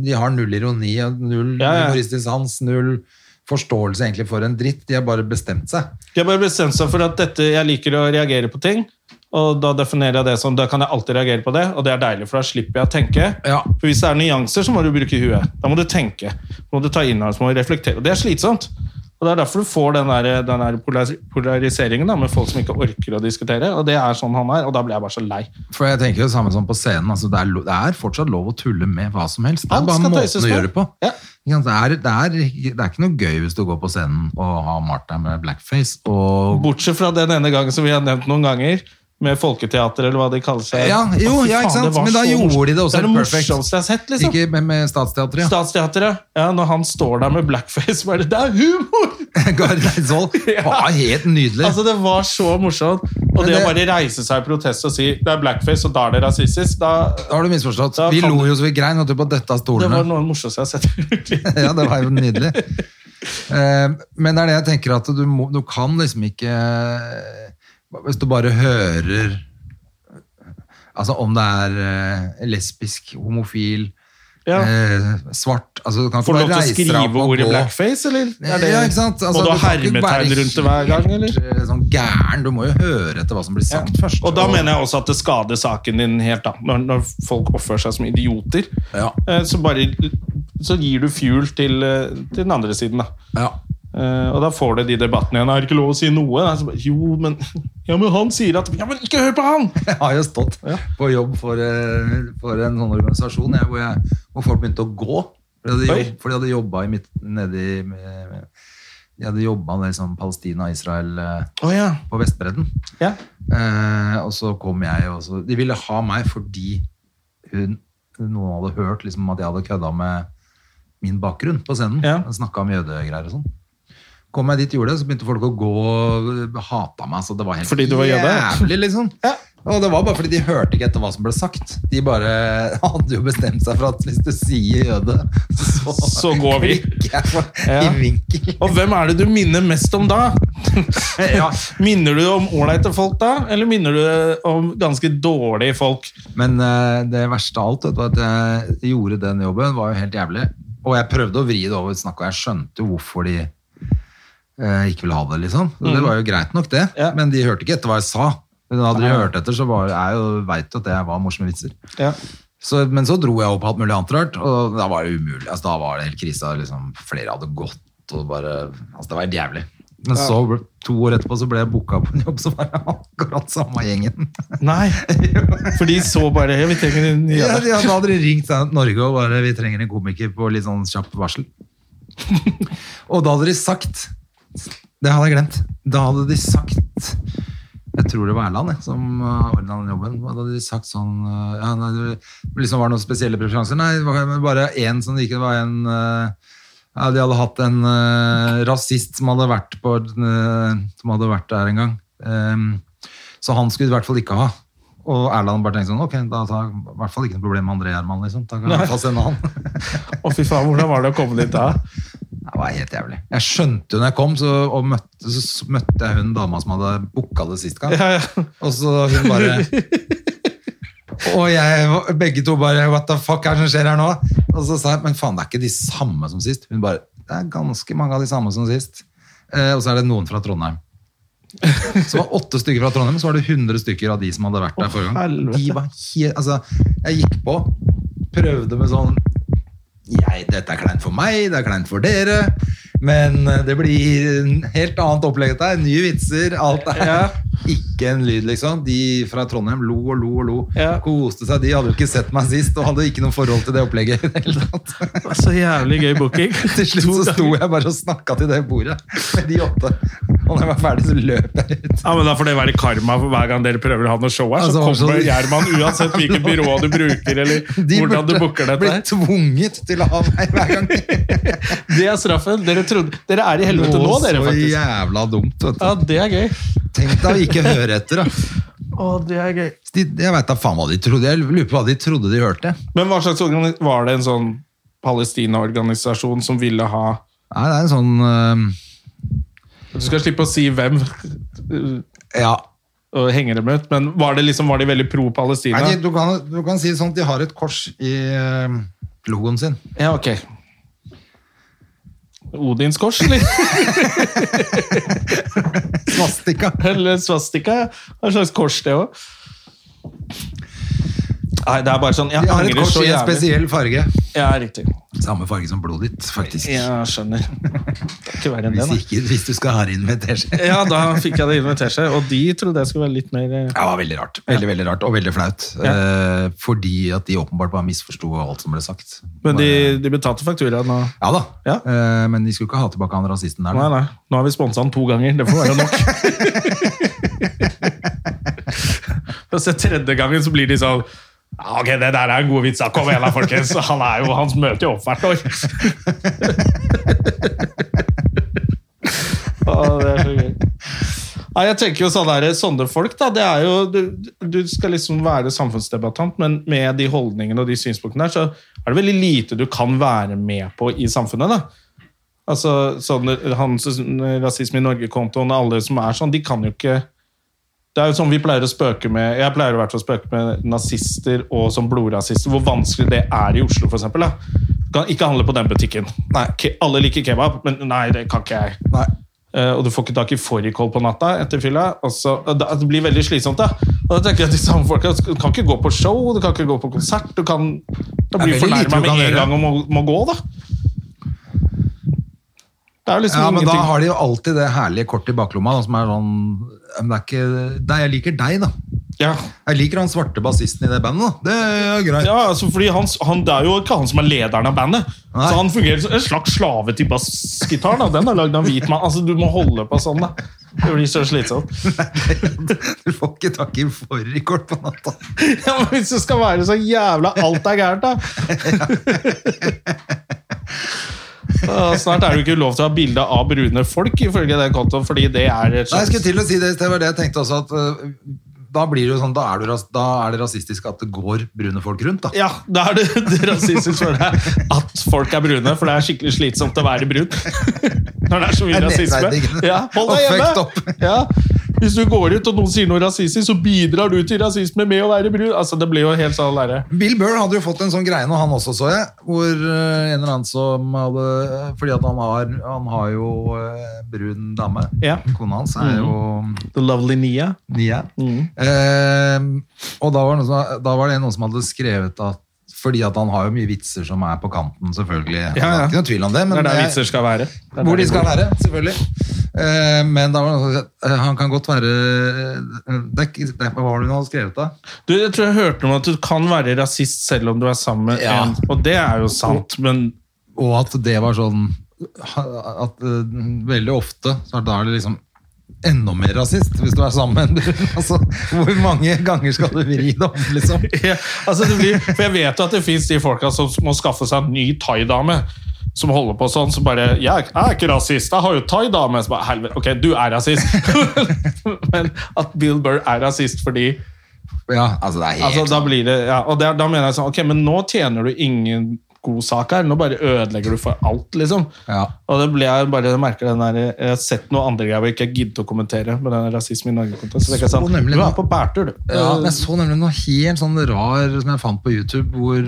[SPEAKER 2] De har null ironi, og null
[SPEAKER 1] Ja, ja.
[SPEAKER 2] humoristisk sans, null forståelse egentlig for en dritt. De har bare bestemt seg.
[SPEAKER 1] De har bare bestemt seg for at dette, jeg liker å reagere på ting, Og da definerer jeg det som da kan jeg alltid reagere på det, og det er deilig, for da slipper jeg å tenke.
[SPEAKER 2] Ja.
[SPEAKER 1] For hvis det er nyanser, så må du bruke huet. Da må du tenke. Da må du ta inn her, så må du reflektere. Og det er slitsomt. Og det er derfor du får den der, den der polaris- polariseringen da, med folk som ikke orker å diskutere. Og det er sånn han er, og da blir jeg bare så lei.
[SPEAKER 2] For jeg tenker jo det samme som på scenen. Altså det, er, lo- det er fortsatt lov å tulle med hva som helst. Det er
[SPEAKER 1] Alt
[SPEAKER 2] bare
[SPEAKER 1] skal
[SPEAKER 2] måten
[SPEAKER 1] tøyses
[SPEAKER 2] å
[SPEAKER 1] med.
[SPEAKER 2] gjøre det på.
[SPEAKER 1] Ja.
[SPEAKER 2] Ikke sant? Det, er, det, er, ikke- det er ikke noe gøy hvis du går på scenen og har Martha med blackface og
[SPEAKER 1] Bortsett fra den ene gangen som vi har nevnt noen ganger, med folketeater, eller hva de kaller seg.
[SPEAKER 2] Ja, jo,
[SPEAKER 1] Å, fy
[SPEAKER 2] ja,
[SPEAKER 1] faen,
[SPEAKER 2] ikke sant?
[SPEAKER 1] var
[SPEAKER 2] Men da
[SPEAKER 1] så
[SPEAKER 2] gjorde
[SPEAKER 1] morsomt.
[SPEAKER 2] de det også
[SPEAKER 1] Det er det
[SPEAKER 2] perfekt.
[SPEAKER 1] morsomste jeg har sett, liksom.
[SPEAKER 2] Ikke med, med Statsteatret. Ja.
[SPEAKER 1] Statsteatret. Ja, når han står der med blackface, bare Det er humor!
[SPEAKER 2] Gard Eidsvoll var helt nydelig.
[SPEAKER 1] Altså, det var så morsomt. Og
[SPEAKER 2] Men
[SPEAKER 1] det, å
[SPEAKER 2] det-
[SPEAKER 1] bare reise seg i protest og si det er blackface, og da er det rasistisk, da
[SPEAKER 2] da har du misforstått.
[SPEAKER 1] Da
[SPEAKER 2] Vi
[SPEAKER 1] kan
[SPEAKER 2] lo
[SPEAKER 1] du-
[SPEAKER 2] jo så vi grein vet du, på dette av
[SPEAKER 1] Det
[SPEAKER 2] stolene.
[SPEAKER 1] var noe av det morsomste jeg har sett.
[SPEAKER 2] ja, det var jo nydelig. Eh, Men det er det jeg tenker at du, må, du kan liksom ikke eh, Hvis du bare hører Altså om det er eh, lesbisk, homofil,
[SPEAKER 1] Ja.
[SPEAKER 2] eh, svart altså, du kan ikke
[SPEAKER 1] Får du
[SPEAKER 2] bare
[SPEAKER 1] lov til å
[SPEAKER 2] reise deg opp
[SPEAKER 1] skrive
[SPEAKER 2] og
[SPEAKER 1] ordet
[SPEAKER 2] gå.
[SPEAKER 1] blackface, eller? Er det-
[SPEAKER 2] ja, ikke sant? Altså,
[SPEAKER 1] Må du ha
[SPEAKER 2] kan ikke være
[SPEAKER 1] hermetegn rundt det hver gang, eller?
[SPEAKER 2] helt, eh, Sånn gæren. Du må jo høre etter hva som blir sagt først.
[SPEAKER 1] Og da mener jeg også at det skader saken din helt, da. Når, når folk oppfører seg som idioter,
[SPEAKER 2] Ja.
[SPEAKER 1] eh, så bare så gir du fuel til, eh, til den andre siden, da.
[SPEAKER 2] ja.
[SPEAKER 1] Eh, og da får du de debattene igjen. Er det ikke lov å si noe? Nei, så bare, jo, men Ja, men han sier at Ja, men ikke hør på han!
[SPEAKER 2] Jeg har jo stått på jobb for, eh, for en sånn organisasjon jeg, hvor, jeg, hvor folk begynte å gå. For de hadde,
[SPEAKER 1] Oi.
[SPEAKER 2] jobb, for de hadde jobba i midt, nedi med- De hadde jobba med liksom Palestina og Israel eh,
[SPEAKER 1] Å ja.
[SPEAKER 2] på Vestbredden.
[SPEAKER 1] ja.
[SPEAKER 2] Eh, og så kom jeg, og så De ville ha meg fordi hun, noen hadde hørt liksom, at jeg hadde kødda med min bakgrunn på scenen.
[SPEAKER 1] Ja.
[SPEAKER 2] Snakka om jødegreier og sånn. Kom jeg dit, gjorde det, så begynte folk å gå og hata meg. Så det var helt
[SPEAKER 1] Fordi du var jøde?
[SPEAKER 2] jævlig, liksom.
[SPEAKER 1] Ja.
[SPEAKER 2] Og det var bare fordi de hørte ikke etter hva som ble sagt. De bare hadde jo bestemt seg for at hvis du sier jøde, så,
[SPEAKER 1] Så går vi.
[SPEAKER 2] klikker jeg for,
[SPEAKER 1] Ja.
[SPEAKER 2] i vinkel.
[SPEAKER 1] Og hvem er det du minner mest om da?
[SPEAKER 2] Ja.
[SPEAKER 1] Minner du om ålreite folk da, eller minner du om ganske dårlige folk?
[SPEAKER 2] Men eh, det verste av alt vet du, var at jeg gjorde den jobben, var jo helt jævlig. Og jeg prøvde å vri det over, snakket, og jeg skjønte jo hvorfor de eh, ikke ville ha det, liksom. Så det var jo greit nok, det.
[SPEAKER 1] Ja.
[SPEAKER 2] Men de hørte ikke etter hva jeg sa. Men hadde de hørt etter, så var, jeg jo, vet jo at det var morsomme vitser.
[SPEAKER 1] Ja.
[SPEAKER 2] Så, men så dro jeg opp alt mulig annet rart, og da var det umulig. Altså, da var det helt krise. Liksom, flere hadde gått, og bare Altså, det var helt jævlig. Men så, ble- to år etterpå, så ble jeg booka på en jobb som var akkurat samme gjengen.
[SPEAKER 1] Nei, for de så bare «Ja, Vi trenger en ny
[SPEAKER 2] Ja,
[SPEAKER 1] jævla».
[SPEAKER 2] ja, da hadde de ringt Stand Up Norge og bare vi trenger en komiker på litt sånn kjapp varsel. og da hadde de sagt Det hadde jeg glemt. Da hadde de sagt Jeg tror det var Erland jeg, som uh, ordna den jobben. Da hadde de sagt sånn uh, ja, nei, det liksom Var det noen spesielle preferanser? Nei, det var bare én som det ikke var en uh, ja, De hadde hatt en uh, rasist som hadde vært på uh, Som hadde vært der en gang. Um, så han skulle i hvert fall ikke ha. Og Erland bare tenkte sånn, ok, da tar jeg i hvert fall ikke noe problem med André Gjermann, liksom. Da kan jeg i hvert fall sende han.
[SPEAKER 1] Å, fy faen, hvordan var det å komme dit da?
[SPEAKER 2] Det var helt jævlig. Jeg skjønte jo når jeg kom, så, og møtte, så s- møtte jeg hun dama som hadde booka det sist gang.
[SPEAKER 1] Ja, ja.
[SPEAKER 2] Og så hun bare Og jeg, var- begge to bare What the fuck er det som skjer her nå? Og så sa jeg men faen, det er ikke de samme som sist. Hun bare Det er ganske mange av de samme som sist. Eh, og så er det noen fra Trondheim. Så det var åtte stykker fra Trondheim, så var det 100 stykker av de som hadde vært der forrige gang.
[SPEAKER 1] helvete.
[SPEAKER 2] De var helt, altså, jeg gikk på, prøvde med sånn jeg, Dette er kleint for meg, det er kleint for dere. Men eh, det blir en helt annet opplegg dette her. Nye vitser, alt er
[SPEAKER 1] Ja.
[SPEAKER 2] ikke en lyd, liksom. De fra Trondheim lo og lo og lo.
[SPEAKER 1] Ja.
[SPEAKER 2] Koste seg. De hadde jo ikke sett meg sist og hadde ikke noe forhold til det opplegget. i det hele tatt.
[SPEAKER 1] Det var Så jævlig gøy booking.
[SPEAKER 2] Til slutt så sto jeg bare og snakka til det bordet med de åtte. Og når jeg var ferdig, så løp jeg ut.
[SPEAKER 1] Ja, men Da får det være karma for hver gang dere prøver å ha noe show her. Så
[SPEAKER 2] Altså,
[SPEAKER 1] kommer
[SPEAKER 2] altså-
[SPEAKER 1] Gjerman uansett hvilket byrå du bruker, eller hvordan du booker dette.
[SPEAKER 2] blitt tvunget til å ha meg hver gang.
[SPEAKER 1] Det er straffen. Dere, trodde, dere er i helvete nå, dere,
[SPEAKER 2] Så
[SPEAKER 1] faktisk.
[SPEAKER 2] jævla dumt, vet
[SPEAKER 1] Ja,
[SPEAKER 2] du.
[SPEAKER 1] det er gøy.
[SPEAKER 2] Tenk deg å ikke høre etter, da.
[SPEAKER 1] Å, det er gøy.
[SPEAKER 2] De, jeg veit da faen hva de trodde. Jeg lurer på hva de trodde de hørte.
[SPEAKER 1] Men hva slags organi- var det en sånn Palestina-organisasjon som ville ha
[SPEAKER 2] Nei, det er en sånn øh,
[SPEAKER 1] Du skal slippe å si hvem øh,
[SPEAKER 2] eh, Ja.
[SPEAKER 1] og henge dem ut, men var, det liksom, var de veldig pro Palestina?
[SPEAKER 2] Nei, de, du, kan, du kan si sånn at de eh, har et kors i øh, logoen sin.
[SPEAKER 1] Ja, ok. Odins kors, eller?
[SPEAKER 2] Svastika.
[SPEAKER 1] Eller svastika. ja. Det er et slags kors, det òg. Nei, det er bare sånn Jeg
[SPEAKER 2] De har et
[SPEAKER 1] angrer
[SPEAKER 2] kors
[SPEAKER 1] så
[SPEAKER 2] i en
[SPEAKER 1] jævlig.
[SPEAKER 2] spesiell farge.
[SPEAKER 1] Ja, riktig.
[SPEAKER 2] Samme farge som blodet ditt, faktisk.
[SPEAKER 1] Jeg skjønner. Det er Ikke verre enn det,
[SPEAKER 2] Hvis,
[SPEAKER 1] da.
[SPEAKER 2] ikke, hvis du skal ha det inn med teskje.
[SPEAKER 1] Ja, da fikk jeg det inn med teskje, og de trodde jeg skulle være litt mer eh,
[SPEAKER 2] Det var veldig rart, veldig, veldig rart og veldig flaut. Eh, fordi at de åpenbart bare misforsto alt som ble sagt.
[SPEAKER 1] Men de,
[SPEAKER 2] Bare-
[SPEAKER 1] de betalte fakturaen, og
[SPEAKER 2] Ja da,
[SPEAKER 1] Ja.
[SPEAKER 2] Eh, men de skulle ikke ha tilbake han rasisten der. da.
[SPEAKER 1] Nei, nei. Nå har vi sponsa han to ganger. Det får være nok. Og så tredje gangen så blir de sånn «Ja, Ok, det der er en god vits. da. Kom igjen, da, folkens. Han er jo, hans møter jo opp hvert år. Å, det er så gøy. Nei, jeg tenker jo sånne, der, sånne folk, da. Det er jo, du, du skal liksom være samfunnsdebattant, men med de holdningene og de synspunktene der, så er det veldig lite du kan være med på i samfunnet. da. Altså, sånn, han, rasisme i Norge-kontoen og alle som er sånn, de kan jo ikke Det er jo sånn vi pleier å spøke med Jeg pleier i hvert fall å spøke med nazister og sånn blodrasister, hvor vanskelig det er i Oslo, for eksempel, da. Du kan ikke handle på den butikken. Nei, ke- Alle liker kebab, men nei, det kan ikke jeg.
[SPEAKER 2] Nei.
[SPEAKER 1] Eh, og du får ikke tak i fårikål på natta etter fylla. Og så, og da, det blir veldig slitsomt, da. Og da tenker jeg at de samme folka du kan ikke gå på show, du kan ikke gå på konsert. Du kan da
[SPEAKER 2] Det er
[SPEAKER 1] blir
[SPEAKER 2] veldig lite du
[SPEAKER 1] fornærma med
[SPEAKER 2] kan
[SPEAKER 1] en
[SPEAKER 2] gjøre.
[SPEAKER 1] gang og må, må gå, da. Det er jo liksom
[SPEAKER 2] Ja, men da
[SPEAKER 1] ingenting.
[SPEAKER 2] har de jo alltid det herlige kortet i baklomma da, som er sånn "Ja, Men det er ikke deg, jeg liker deg, da.
[SPEAKER 1] Ja.
[SPEAKER 2] Jeg liker han svarte bassisten i det bandet, da. Det er greit.
[SPEAKER 1] Ja, altså, fordi han, han, Det er jo ikke han som er lederen av bandet.
[SPEAKER 2] Nei.
[SPEAKER 1] Så Han fungerer som en slags slave til bassgitaren. da. Den er lagd av en hvit mann. Altså, du må holde på sånn, da. Det blir så slitsomt.
[SPEAKER 2] Du får ikke tak i fårikål på natta.
[SPEAKER 1] Ja, men Hvis det skal være så jævla alt er gærent, da! Å, Snart er det jo ikke lov til å ha bilde av brune folk, ifølge den kontoen. fordi det er et
[SPEAKER 2] Nei, jeg
[SPEAKER 1] slags...
[SPEAKER 2] skulle til å si det, det var det jeg tenkte også, at øh, da blir det jo sånn, da er, du, ras- da er det rasistisk at det går brune folk rundt, da.
[SPEAKER 1] Ja, da er det, det rasistisk for deg at folk er brune, for det er skikkelig slitsomt å være brun. Når det er så mye
[SPEAKER 2] Det er
[SPEAKER 1] rasisme.
[SPEAKER 2] nedverdigende.
[SPEAKER 1] Ja, hold deg
[SPEAKER 2] Og
[SPEAKER 1] hjemme!
[SPEAKER 2] fucked
[SPEAKER 1] Ja. Hvis du går ut og noen sier noe rasistisk, så bidrar du til rasisme med å være brun. Altså, Det blir jo helt sånn derre
[SPEAKER 2] Bill Burr hadde jo fått en sånn greie nå, han også, så jeg. Hvor øh, en eller annen som hadde Fordi at han har, han har jo øh, brun dame.
[SPEAKER 1] Ja. Mm.
[SPEAKER 2] Kona hans er jo
[SPEAKER 1] The lovely Nia.
[SPEAKER 2] Nia.
[SPEAKER 1] Mm.
[SPEAKER 2] Eh, og da var, det noen som, da var det noen som hadde skrevet at fordi at han har jo mye vitser som er på kanten, selvfølgelig.
[SPEAKER 1] Ja, ja.
[SPEAKER 2] Det er Ikke noe tvil om det.
[SPEAKER 1] Det
[SPEAKER 2] Men
[SPEAKER 1] er der
[SPEAKER 2] jeg-
[SPEAKER 1] vitser skal være. Det er
[SPEAKER 2] hvor
[SPEAKER 1] der
[SPEAKER 2] de skal være, selvfølgelig. Eh, men da var det noen som sa at eh, han kan godt være det er, ikke- det er, Hva var det hun hadde skrevet, da?
[SPEAKER 1] Du, jeg tror jeg hørte om at du kan være rasist selv om du er sammen med
[SPEAKER 2] Ja.
[SPEAKER 1] en. Og det er jo sant, men
[SPEAKER 2] Og at det var sånn at eh, veldig ofte så er da er det liksom enda mer rasist hvis du er sammen. altså, hvor mange ganger skal du vri det om, liksom?
[SPEAKER 1] ja, altså det blir, For jeg vet jo at det fins de folka som må skaffe seg en ny thaidame. Som holder på sånn, som bare 'Jeg er ikke rasist, jeg har jo thaidame.' Så bare helvete, ok, du er rasist. Men at Bill Burr er rasist fordi
[SPEAKER 2] Ja, altså det er helt
[SPEAKER 1] altså, da blir det, ja, Og der, da mener jeg sånn Ok, men nå tjener du ingen god sak her. Nå bare ødelegger du for alt, liksom.
[SPEAKER 2] Ja.
[SPEAKER 1] Og det ble jeg bare jeg merker den der, Jeg har sett noen andre greier hvor jeg ikke gidder å kommentere. Med den rasisme i Norge kontekst Så tenker jeg
[SPEAKER 2] Så
[SPEAKER 1] sånn,
[SPEAKER 2] nemlig
[SPEAKER 1] du
[SPEAKER 2] nå.
[SPEAKER 1] er på bærtur, du.
[SPEAKER 2] Ja, men jeg så nemlig noe helt sånn rar som jeg fant på YouTube, hvor,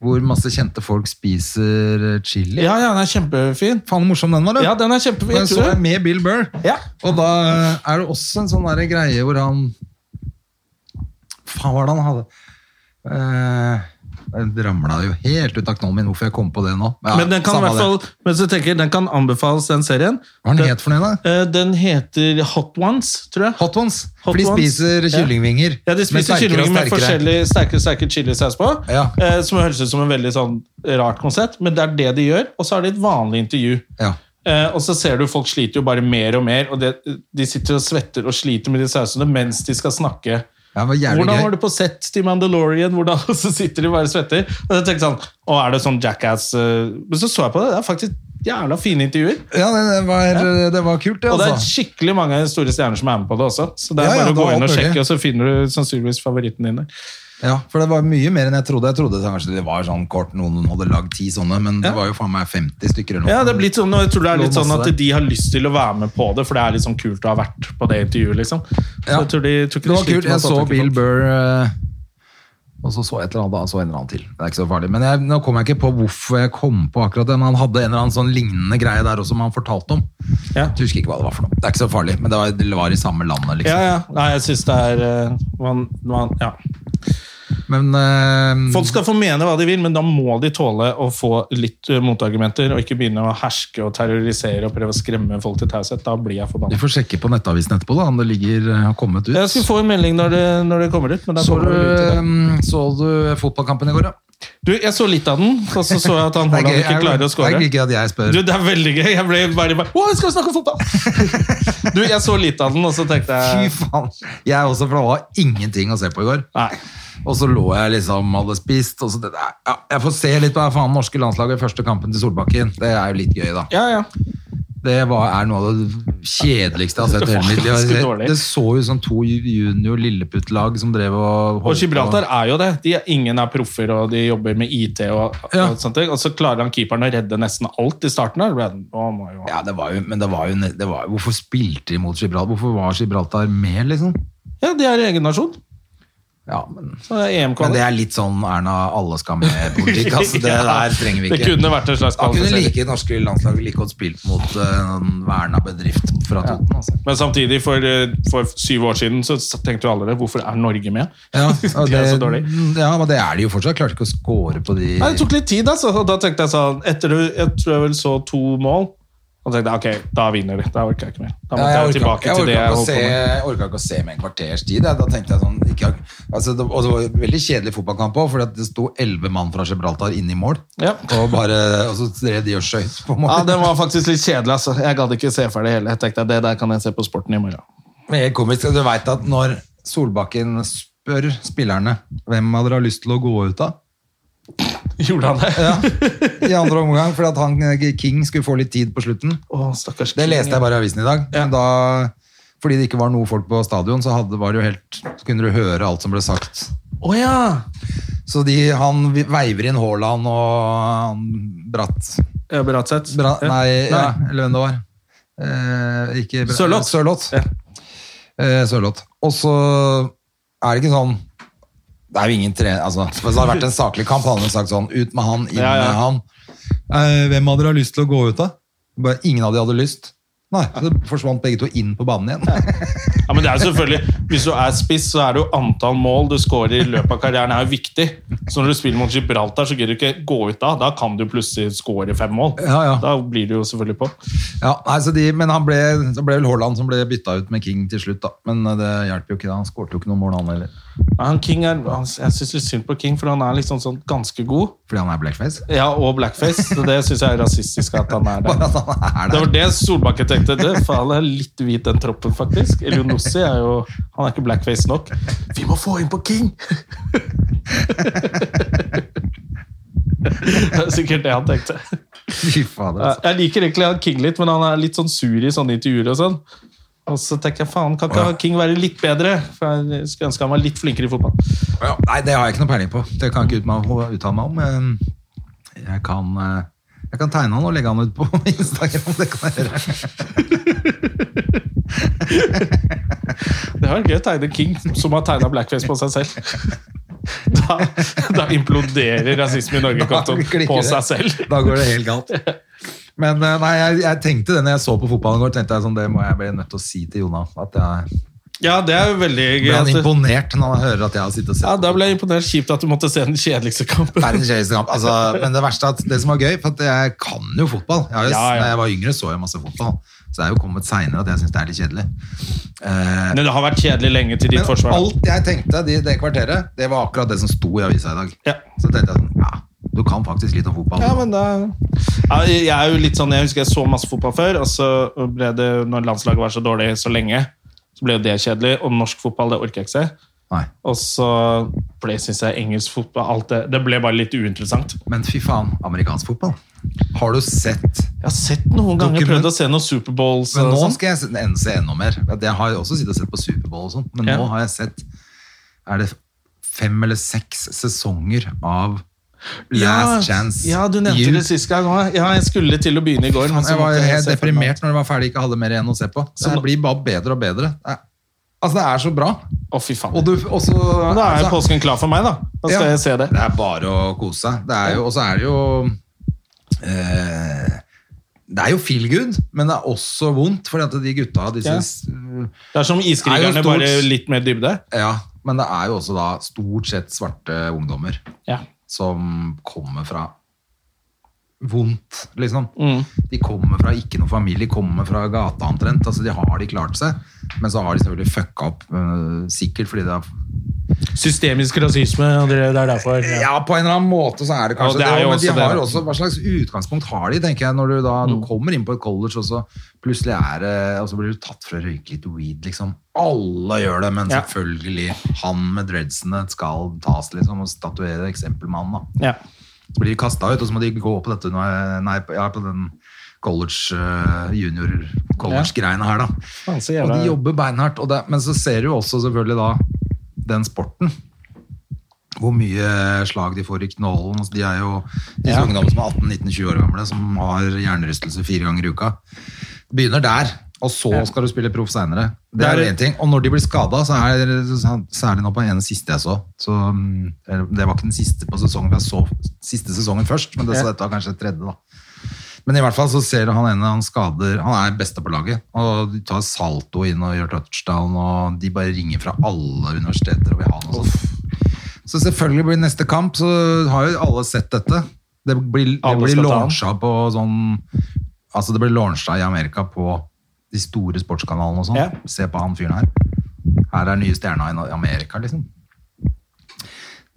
[SPEAKER 2] hvor masse kjente folk spiser eh, chili.
[SPEAKER 1] ja, ja, den er kjempefin.
[SPEAKER 2] Faen hvor morsom den var, du!
[SPEAKER 1] Ja, den er kjempefin.
[SPEAKER 2] Den
[SPEAKER 1] Jeg
[SPEAKER 2] så
[SPEAKER 1] tror
[SPEAKER 2] jeg
[SPEAKER 1] det.
[SPEAKER 2] med Bill Burr.
[SPEAKER 1] Ja.
[SPEAKER 2] Og da er det også en sånn der greie hvor han Faen, hva var det han hadde? Eh, det ramla jo helt ut av knollen min hvorfor jeg kom på det nå. Ja,
[SPEAKER 1] Men den kan i
[SPEAKER 2] samme
[SPEAKER 1] hvert
[SPEAKER 2] det.
[SPEAKER 1] fall Men så tenker jeg, den kan anbefales, den serien.
[SPEAKER 2] Hva er den het for noe, da?
[SPEAKER 1] Eh, Den heter Hot Ones, tror jeg.
[SPEAKER 2] Hot Ones.
[SPEAKER 1] Hot
[SPEAKER 2] for de
[SPEAKER 1] Ones.
[SPEAKER 2] spiser
[SPEAKER 1] Ja.
[SPEAKER 2] kyllingvinger.
[SPEAKER 1] Ja, de
[SPEAKER 2] Men sterkere
[SPEAKER 1] spiser
[SPEAKER 2] og
[SPEAKER 1] kylling med
[SPEAKER 2] sterkere.
[SPEAKER 1] forskjellig sterkere, sterkere chilisaus på.
[SPEAKER 2] Ja.
[SPEAKER 1] eh, Som høres ut som en veldig sånn rart konsept, men det er det de gjør. Og så har de et vanlig intervju.
[SPEAKER 2] Ja.
[SPEAKER 1] Eh, og så ser du folk sliter jo bare mer og mer, og det, de sitter og svetter og sliter med de sausene mens de skal snakke.
[SPEAKER 2] Ja, det var jævlig
[SPEAKER 1] Hvordan
[SPEAKER 2] gøy.
[SPEAKER 1] var du på sett til Mandalorian? Hvordan, og så sitter de bare og svetter. Og jeg tenkte sånn, å, er det sånn jackass? eh? Men så så jeg på det, det er faktisk jævla fine intervjuer.
[SPEAKER 2] Ja, det, det, var, det var kult, det,
[SPEAKER 1] Og det er
[SPEAKER 2] altså.
[SPEAKER 1] skikkelig mange store stjerner som er med på det også. Så det er
[SPEAKER 2] Ja, ja,
[SPEAKER 1] bare å
[SPEAKER 2] det
[SPEAKER 1] gå
[SPEAKER 2] var
[SPEAKER 1] inn
[SPEAKER 2] alt
[SPEAKER 1] og
[SPEAKER 2] mulig.
[SPEAKER 1] sjekke, og så finner du sannsynligvis favoritten din der.
[SPEAKER 2] Ja, for det var mye mer enn jeg trodde. Jeg trodde det kanskje det var sånn kort, noen hadde lagd ti sånne, men det var jo faen meg 50 stykker eller noe.
[SPEAKER 1] Ja, det er blitt sånn, og jeg tror det er litt
[SPEAKER 2] Lå
[SPEAKER 1] sånn at
[SPEAKER 2] masse der.
[SPEAKER 1] de har lyst til å være med på det, for det er litt sånn kult å ha vært på det intervjuet, liksom. Så
[SPEAKER 2] Ja.
[SPEAKER 1] jeg tror de, jeg tror ikke
[SPEAKER 2] Det
[SPEAKER 1] de
[SPEAKER 2] var kult.
[SPEAKER 1] sliter med å
[SPEAKER 2] Jeg
[SPEAKER 1] få
[SPEAKER 2] så
[SPEAKER 1] tak i
[SPEAKER 2] Bill
[SPEAKER 1] folk.
[SPEAKER 2] Burr eh, Og så så jeg et eller annet, og så en eller annen til. Det er ikke så farlig. Men jeg, nå kom jeg ikke på hvorfor jeg kom på akkurat det, men han hadde en eller annen sånn lignende greie der også, som han fortalte om.
[SPEAKER 1] Ja.
[SPEAKER 2] Jeg husker ikke hva det var for noe. Det er ikke så farlig, men det var, det var i samme landet,
[SPEAKER 1] Ja,
[SPEAKER 2] liksom.
[SPEAKER 1] ja. Nei, jeg syns det er eh, man, man, ja.
[SPEAKER 2] Men eh,
[SPEAKER 1] Folk skal få mene hva de vil, men da må de tåle å få litt eh, motargumenter, og ikke begynne å herske og terrorisere og prøve å skremme folk til taushet. Da blir jeg
[SPEAKER 2] vi
[SPEAKER 1] forbanna.
[SPEAKER 2] får sjekke på nettavisen etterpå, da, om det ligger, eh, har kommet ut.
[SPEAKER 1] Jeg skal få en melding når det, når det kommer ut. Men da
[SPEAKER 2] Så
[SPEAKER 1] kommer
[SPEAKER 2] du, eh,
[SPEAKER 1] det ut i dag.
[SPEAKER 2] så du fotballkampen i går, ja?
[SPEAKER 1] Du, jeg så litt av den, og så så jeg at han
[SPEAKER 2] Det er
[SPEAKER 1] Haaland
[SPEAKER 2] gøy-
[SPEAKER 1] ikke klarer å
[SPEAKER 2] Det
[SPEAKER 1] score.
[SPEAKER 2] er gøy at jeg spør.
[SPEAKER 1] Du, det er veldig gøy. Jeg ble bare, bare Å, skal vi snakke om fotball? du, jeg så litt av den, og så tenkte
[SPEAKER 2] Fy
[SPEAKER 1] jeg
[SPEAKER 2] faen! Jeg også, for det var ingenting å se på i går.
[SPEAKER 1] Nei.
[SPEAKER 2] Og så lå jeg liksom, hadde spist og så det, der. ja, Jeg får se litt på det faen norske landslaget i første kampen til Solbakken. Det er jo litt gøy, da.
[SPEAKER 1] Ja, ja.
[SPEAKER 2] Det var, er noe av det kjedeligste jeg har sett i hele mitt liv.
[SPEAKER 1] ganske
[SPEAKER 2] Jeg-
[SPEAKER 1] dårlig.
[SPEAKER 2] Det så jo som to junior Lilleputt-lag som drev og
[SPEAKER 1] Og Gibraltar er jo det. De er, ingen er proffer, og de jobber med IT. Og,
[SPEAKER 2] Ja.
[SPEAKER 1] og sånne ting. Og så klarer han keeperen å redde nesten alt i starten. Der. Red- Å, my God.
[SPEAKER 2] Ja, det var jo, men det var jo, det var, hvorfor spilte de mot Gibraltar? Hvorfor var Gibraltar med, liksom?
[SPEAKER 1] Ja, de er egen nasjon.
[SPEAKER 2] Ja, men,
[SPEAKER 1] Så det er
[SPEAKER 2] men det
[SPEAKER 1] EM-kvalik.
[SPEAKER 2] er litt sånn Erna alle skal med-politikk. Altså, det der trenger vi
[SPEAKER 1] Det
[SPEAKER 2] ikke.
[SPEAKER 1] kunne vært en slags
[SPEAKER 2] Han kunne
[SPEAKER 1] kvalifisering.
[SPEAKER 2] like norske landslaget like godt spilt mot eh, en verna bedrift fra Toten, altså.
[SPEAKER 1] Men samtidig, for, eh, for syv år siden, så tenkte jo alle det. Hvorfor er Norge med?
[SPEAKER 2] Ja, og
[SPEAKER 1] de
[SPEAKER 2] det,
[SPEAKER 1] er så dårlige.
[SPEAKER 2] ja, men det er de jo fortsatt. Klarte ikke å score på de
[SPEAKER 1] Nei, det tok litt tid, altså. Og da tenkte jeg sånn Etter du, jeg tror jeg vel så to mål, og tenkte jeg ok, da vinner vi. Da orker jeg ikke mer. Da
[SPEAKER 2] Ja,
[SPEAKER 1] måtte jeg
[SPEAKER 2] orket-
[SPEAKER 1] tilbake
[SPEAKER 2] jeg
[SPEAKER 1] til det
[SPEAKER 2] orket
[SPEAKER 1] jeg
[SPEAKER 2] ikke å
[SPEAKER 1] holdt på
[SPEAKER 2] se-
[SPEAKER 1] med.
[SPEAKER 2] Jeg orka ikke å se med en kvarters tid. jeg. Da tenkte jeg sånn ikke, altså, det, Og det var en veldig kjedelig fotballkamp òg, for det sto elleve mann fra Gibraltar inn i mål.
[SPEAKER 1] Ja.
[SPEAKER 2] Og, bare, og så drev de og skøyt på
[SPEAKER 1] Ja,
[SPEAKER 2] mål.
[SPEAKER 1] Den var faktisk litt kjedelig. altså. Jeg gadd ikke se ferdig hele. Jeg tenkte, Det der kan jeg se på Sporten i morgen.
[SPEAKER 2] Men helt komisk, og du vet at når Solbakken spør spillerne hvem av dere har lyst til å gå ut av
[SPEAKER 1] Gjorde han det?
[SPEAKER 2] i andre omgang, fordi at han, eh, King skulle få litt tid på slutten.
[SPEAKER 1] Å, stakkars
[SPEAKER 2] Det
[SPEAKER 1] King,
[SPEAKER 2] leste jeg bare i avisen i dag.
[SPEAKER 1] Ja.
[SPEAKER 2] Men Da, fordi det ikke var noe folk på stadion, så, hadde, var det jo helt, så kunne du høre alt som ble sagt.
[SPEAKER 1] Å ja!
[SPEAKER 2] Så de, han veiver inn Haaland og han Bratt
[SPEAKER 1] Ja, Bratseth.
[SPEAKER 2] Bra,
[SPEAKER 1] Ja.
[SPEAKER 2] Nei, ja, eller hvem det var. Eh, ikke Bra-
[SPEAKER 1] Sørloth.
[SPEAKER 2] Sørloth.
[SPEAKER 1] Ja.
[SPEAKER 2] Eh, Sørloth. Og så er det ikke sånn Det er jo ingen tre... Altså, hvis det hadde vært en saklig kamp, hadde hun sagt sånn Ut med han, inn
[SPEAKER 1] Ja, ja.
[SPEAKER 2] med han. Eh, hvem av dere har lyst til å gå ut, da? Bare, ingen av de hadde lyst. Nei, Så forsvant begge to inn på banen igjen.
[SPEAKER 1] Ja, men det er jo selvfølgelig, Hvis du er spiss, så er det jo antall mål du scorer i løpet av karrieren, er jo viktig. Så når du spiller mot Gibraltar, så gidder du ikke gå ut da. Da kan du plutselig score fem mål.
[SPEAKER 2] Ja, ja.
[SPEAKER 1] Da blir du jo selvfølgelig på.
[SPEAKER 2] Ja, nei, så de, men han ble, det ble vel Haaland som ble bytta ut med King til slutt, da. Men eh, det hjelper jo ikke. da. Han skårte jo ikke noen mål, han heller.
[SPEAKER 1] Ja, Han King er, han, jeg syns litt synd på King, for han er liksom sånn ganske god.
[SPEAKER 2] Fordi han er blackface.
[SPEAKER 1] Ja, Og blackface. Så det syns jeg er rasistisk at han er
[SPEAKER 2] Bare
[SPEAKER 1] der.
[SPEAKER 2] at han er
[SPEAKER 1] Det
[SPEAKER 2] der.
[SPEAKER 1] var det Solbakken tenkte. Det faen er litt hvit, den troppen, faktisk. Elionossi er jo Han er ikke blackface nok. Vi må få inn på King! Det er sikkert det han tenkte.
[SPEAKER 2] Fy fader, altså.
[SPEAKER 1] Jeg liker egentlig han King litt, men han er litt sånn sur i sånne intervjuer og sånn. Og så tenker jeg faen, kan ikke han King være litt bedre? For jeg skulle ønske han var litt flinkere i fotball.
[SPEAKER 2] Ja, nei, det har jeg ikke noe peiling på. Det kan jeg ikke ut meg- å uttale meg om. men Jeg kan, eh, jeg kan tegne han og legge han ut på Instagram. Det kan jeg gjøre.
[SPEAKER 1] Det var gøy å tegne King som har tegna blackface på seg selv. Da, da imploderer rasisme i Norge-kontoen
[SPEAKER 2] Da klikker
[SPEAKER 1] på
[SPEAKER 2] det.
[SPEAKER 1] seg selv.
[SPEAKER 2] Da går det helt galt. Men eh, nei, jeg, jeg tenkte det når jeg så på fotballen i går, tenkte jeg sånn, det må jeg bli nødt til å si til Jona. At jeg
[SPEAKER 1] Ja, det er jo veldig gøy.
[SPEAKER 2] ble han
[SPEAKER 1] at-
[SPEAKER 2] imponert når han hører at jeg har sittet og sett
[SPEAKER 1] Ja,
[SPEAKER 2] på
[SPEAKER 1] Da ble jeg imponert. Kjipt at du måtte se den kjedeligste kampen.
[SPEAKER 2] Verdens kjedeligste kamp. Altså, men det verste er at det som var gøy, for at jeg kan jo fotball. Jeg, har jo-
[SPEAKER 1] Ja, ja.
[SPEAKER 2] Når jeg var yngre, så jeg masse fotball. Så det er jo kommet seinere at jeg syns det er litt kjedelig. Eh,
[SPEAKER 1] Men det har vært kjedelig lenge til ditt
[SPEAKER 2] men
[SPEAKER 1] forsvar.
[SPEAKER 2] alt jeg tenkte de, det kvarteret, det var akkurat det som sto i avisa i dag.
[SPEAKER 1] Ja.
[SPEAKER 2] Så tenkte jeg sånn Ja, du kan faktisk litt om fotball.
[SPEAKER 1] Ja, men da... ja, jeg er jo litt sånn, jeg husker jeg så masse fotball før, og så ble det, når landslaget var så dårlig så lenge, så ble jo det kjedelig, og norsk fotball, det orker jeg ikke se.
[SPEAKER 2] Nei.
[SPEAKER 1] Og så ble, synes jeg, engelsk fotball, alt det, det ble bare litt uinteressant.
[SPEAKER 2] Men fy faen, amerikansk fotball. Har du sett
[SPEAKER 1] Jeg har sett noen ganger
[SPEAKER 2] Dokument-
[SPEAKER 1] prøvd å se noen Superbowls
[SPEAKER 2] Men
[SPEAKER 1] og
[SPEAKER 2] nå
[SPEAKER 1] sånn.
[SPEAKER 2] skal jeg se- en- se enda mer. Jeg har jo også sittet og sett på Superbowl og sånn, men
[SPEAKER 1] Ja.
[SPEAKER 2] nå har jeg sett Er det fem eller seks sesonger av Last Chance
[SPEAKER 1] Ja, du nevnte
[SPEAKER 2] You.
[SPEAKER 1] det sist gang også. Ja, jeg skulle til å begynne i går. men så
[SPEAKER 2] Jeg var
[SPEAKER 1] måtte
[SPEAKER 2] helt
[SPEAKER 1] se ferdig med alt.
[SPEAKER 2] deprimert når det var ferdig, ikke hadde mer igjen å se på. Så
[SPEAKER 1] Så
[SPEAKER 2] det
[SPEAKER 1] nå-
[SPEAKER 2] blir bare bedre og bedre. Det er Altså, det er så bra.
[SPEAKER 1] Å, fy faen.
[SPEAKER 2] Og, du, og så
[SPEAKER 1] Men da er
[SPEAKER 2] altså,
[SPEAKER 1] påsken klar for meg, da. Da skal
[SPEAKER 2] Ja.
[SPEAKER 1] jeg se det.
[SPEAKER 2] Det er bare å kose seg. Det er jo, og så er det jo eh, Det er jo feel good, men det er også vondt, fordi at de gutta disse,
[SPEAKER 1] Ja. Det er som
[SPEAKER 2] Det
[SPEAKER 1] Iskrigerne,
[SPEAKER 2] er jo stort.
[SPEAKER 1] bare litt mer dybde.
[SPEAKER 2] ja, Men det er jo også da stort sett svarte ungdommer
[SPEAKER 1] Ja.
[SPEAKER 2] som kommer fra vondt, liksom.
[SPEAKER 1] Mm.
[SPEAKER 2] De kommer fra ikke noe familie, de kommer fra gata omtrent. Altså, de har de klart seg, men så har de selvfølgelig fucka opp, eh, sikkert fordi det er
[SPEAKER 1] Systemisk rasisme, og det det er derfor. ja.
[SPEAKER 2] Ja, på en eller annen måte så er det
[SPEAKER 1] Ja,
[SPEAKER 2] kanskje
[SPEAKER 1] det
[SPEAKER 2] det.
[SPEAKER 1] er jo
[SPEAKER 2] men de
[SPEAKER 1] også det, Mm.
[SPEAKER 2] har
[SPEAKER 1] da.
[SPEAKER 2] også, hva slags utgangspunkt har de, tenker jeg, når du da du kommer inn på et college, og så plutselig er det, og så blir du tatt for å røyke litt weed, liksom. Alle gjør det, men
[SPEAKER 1] Ja.
[SPEAKER 2] selvfølgelig, han med dreadsene skal tas, liksom, og statuere eksempel med han, da.
[SPEAKER 1] Ja.
[SPEAKER 2] Så blir de kasta ut, og så må de gå på dette Nei, nei på- ja, på den college, eh, junior college-greiene her, da.
[SPEAKER 1] Faen, så
[SPEAKER 2] Og
[SPEAKER 1] jævla
[SPEAKER 2] de jobber beinhardt. Og det, men så ser du jo også selvfølgelig da den sporten. Hvor mye slag de får i knollen. Altså, De er jo disse
[SPEAKER 1] Ja.
[SPEAKER 2] ungdommene som er 18-19-20 år gamle, som har hjernerystelse fire ganger i uka. Begynner der, og så skal du spille proff seinere. Det er
[SPEAKER 1] Det er-
[SPEAKER 2] én ting. Og når de blir skada, så er særlig nå på den ene siste jeg så. så mm, eller det var ikke den siste på sesongen, jeg så siste sesongen først, men det, så
[SPEAKER 1] Ja.
[SPEAKER 2] dette var kanskje tredje, da. Men i hvert fall så ser du han ene han skader Han er beste på laget. Og de tar salto inn og gjør touchdown, og de bare ringer fra alle universiteter og vil ha noe sånt. Så selvfølgelig blir neste kamp, så har jo alle sett dette. Det blir, det
[SPEAKER 1] Alle
[SPEAKER 2] blir
[SPEAKER 1] skal ta han.
[SPEAKER 2] launchet på sånn Altså det blir launchet i Amerika på de store sportskanalene og sånn.
[SPEAKER 1] Ja.
[SPEAKER 2] Se på han fyren her. Her er nye stjerna i Amerika, liksom.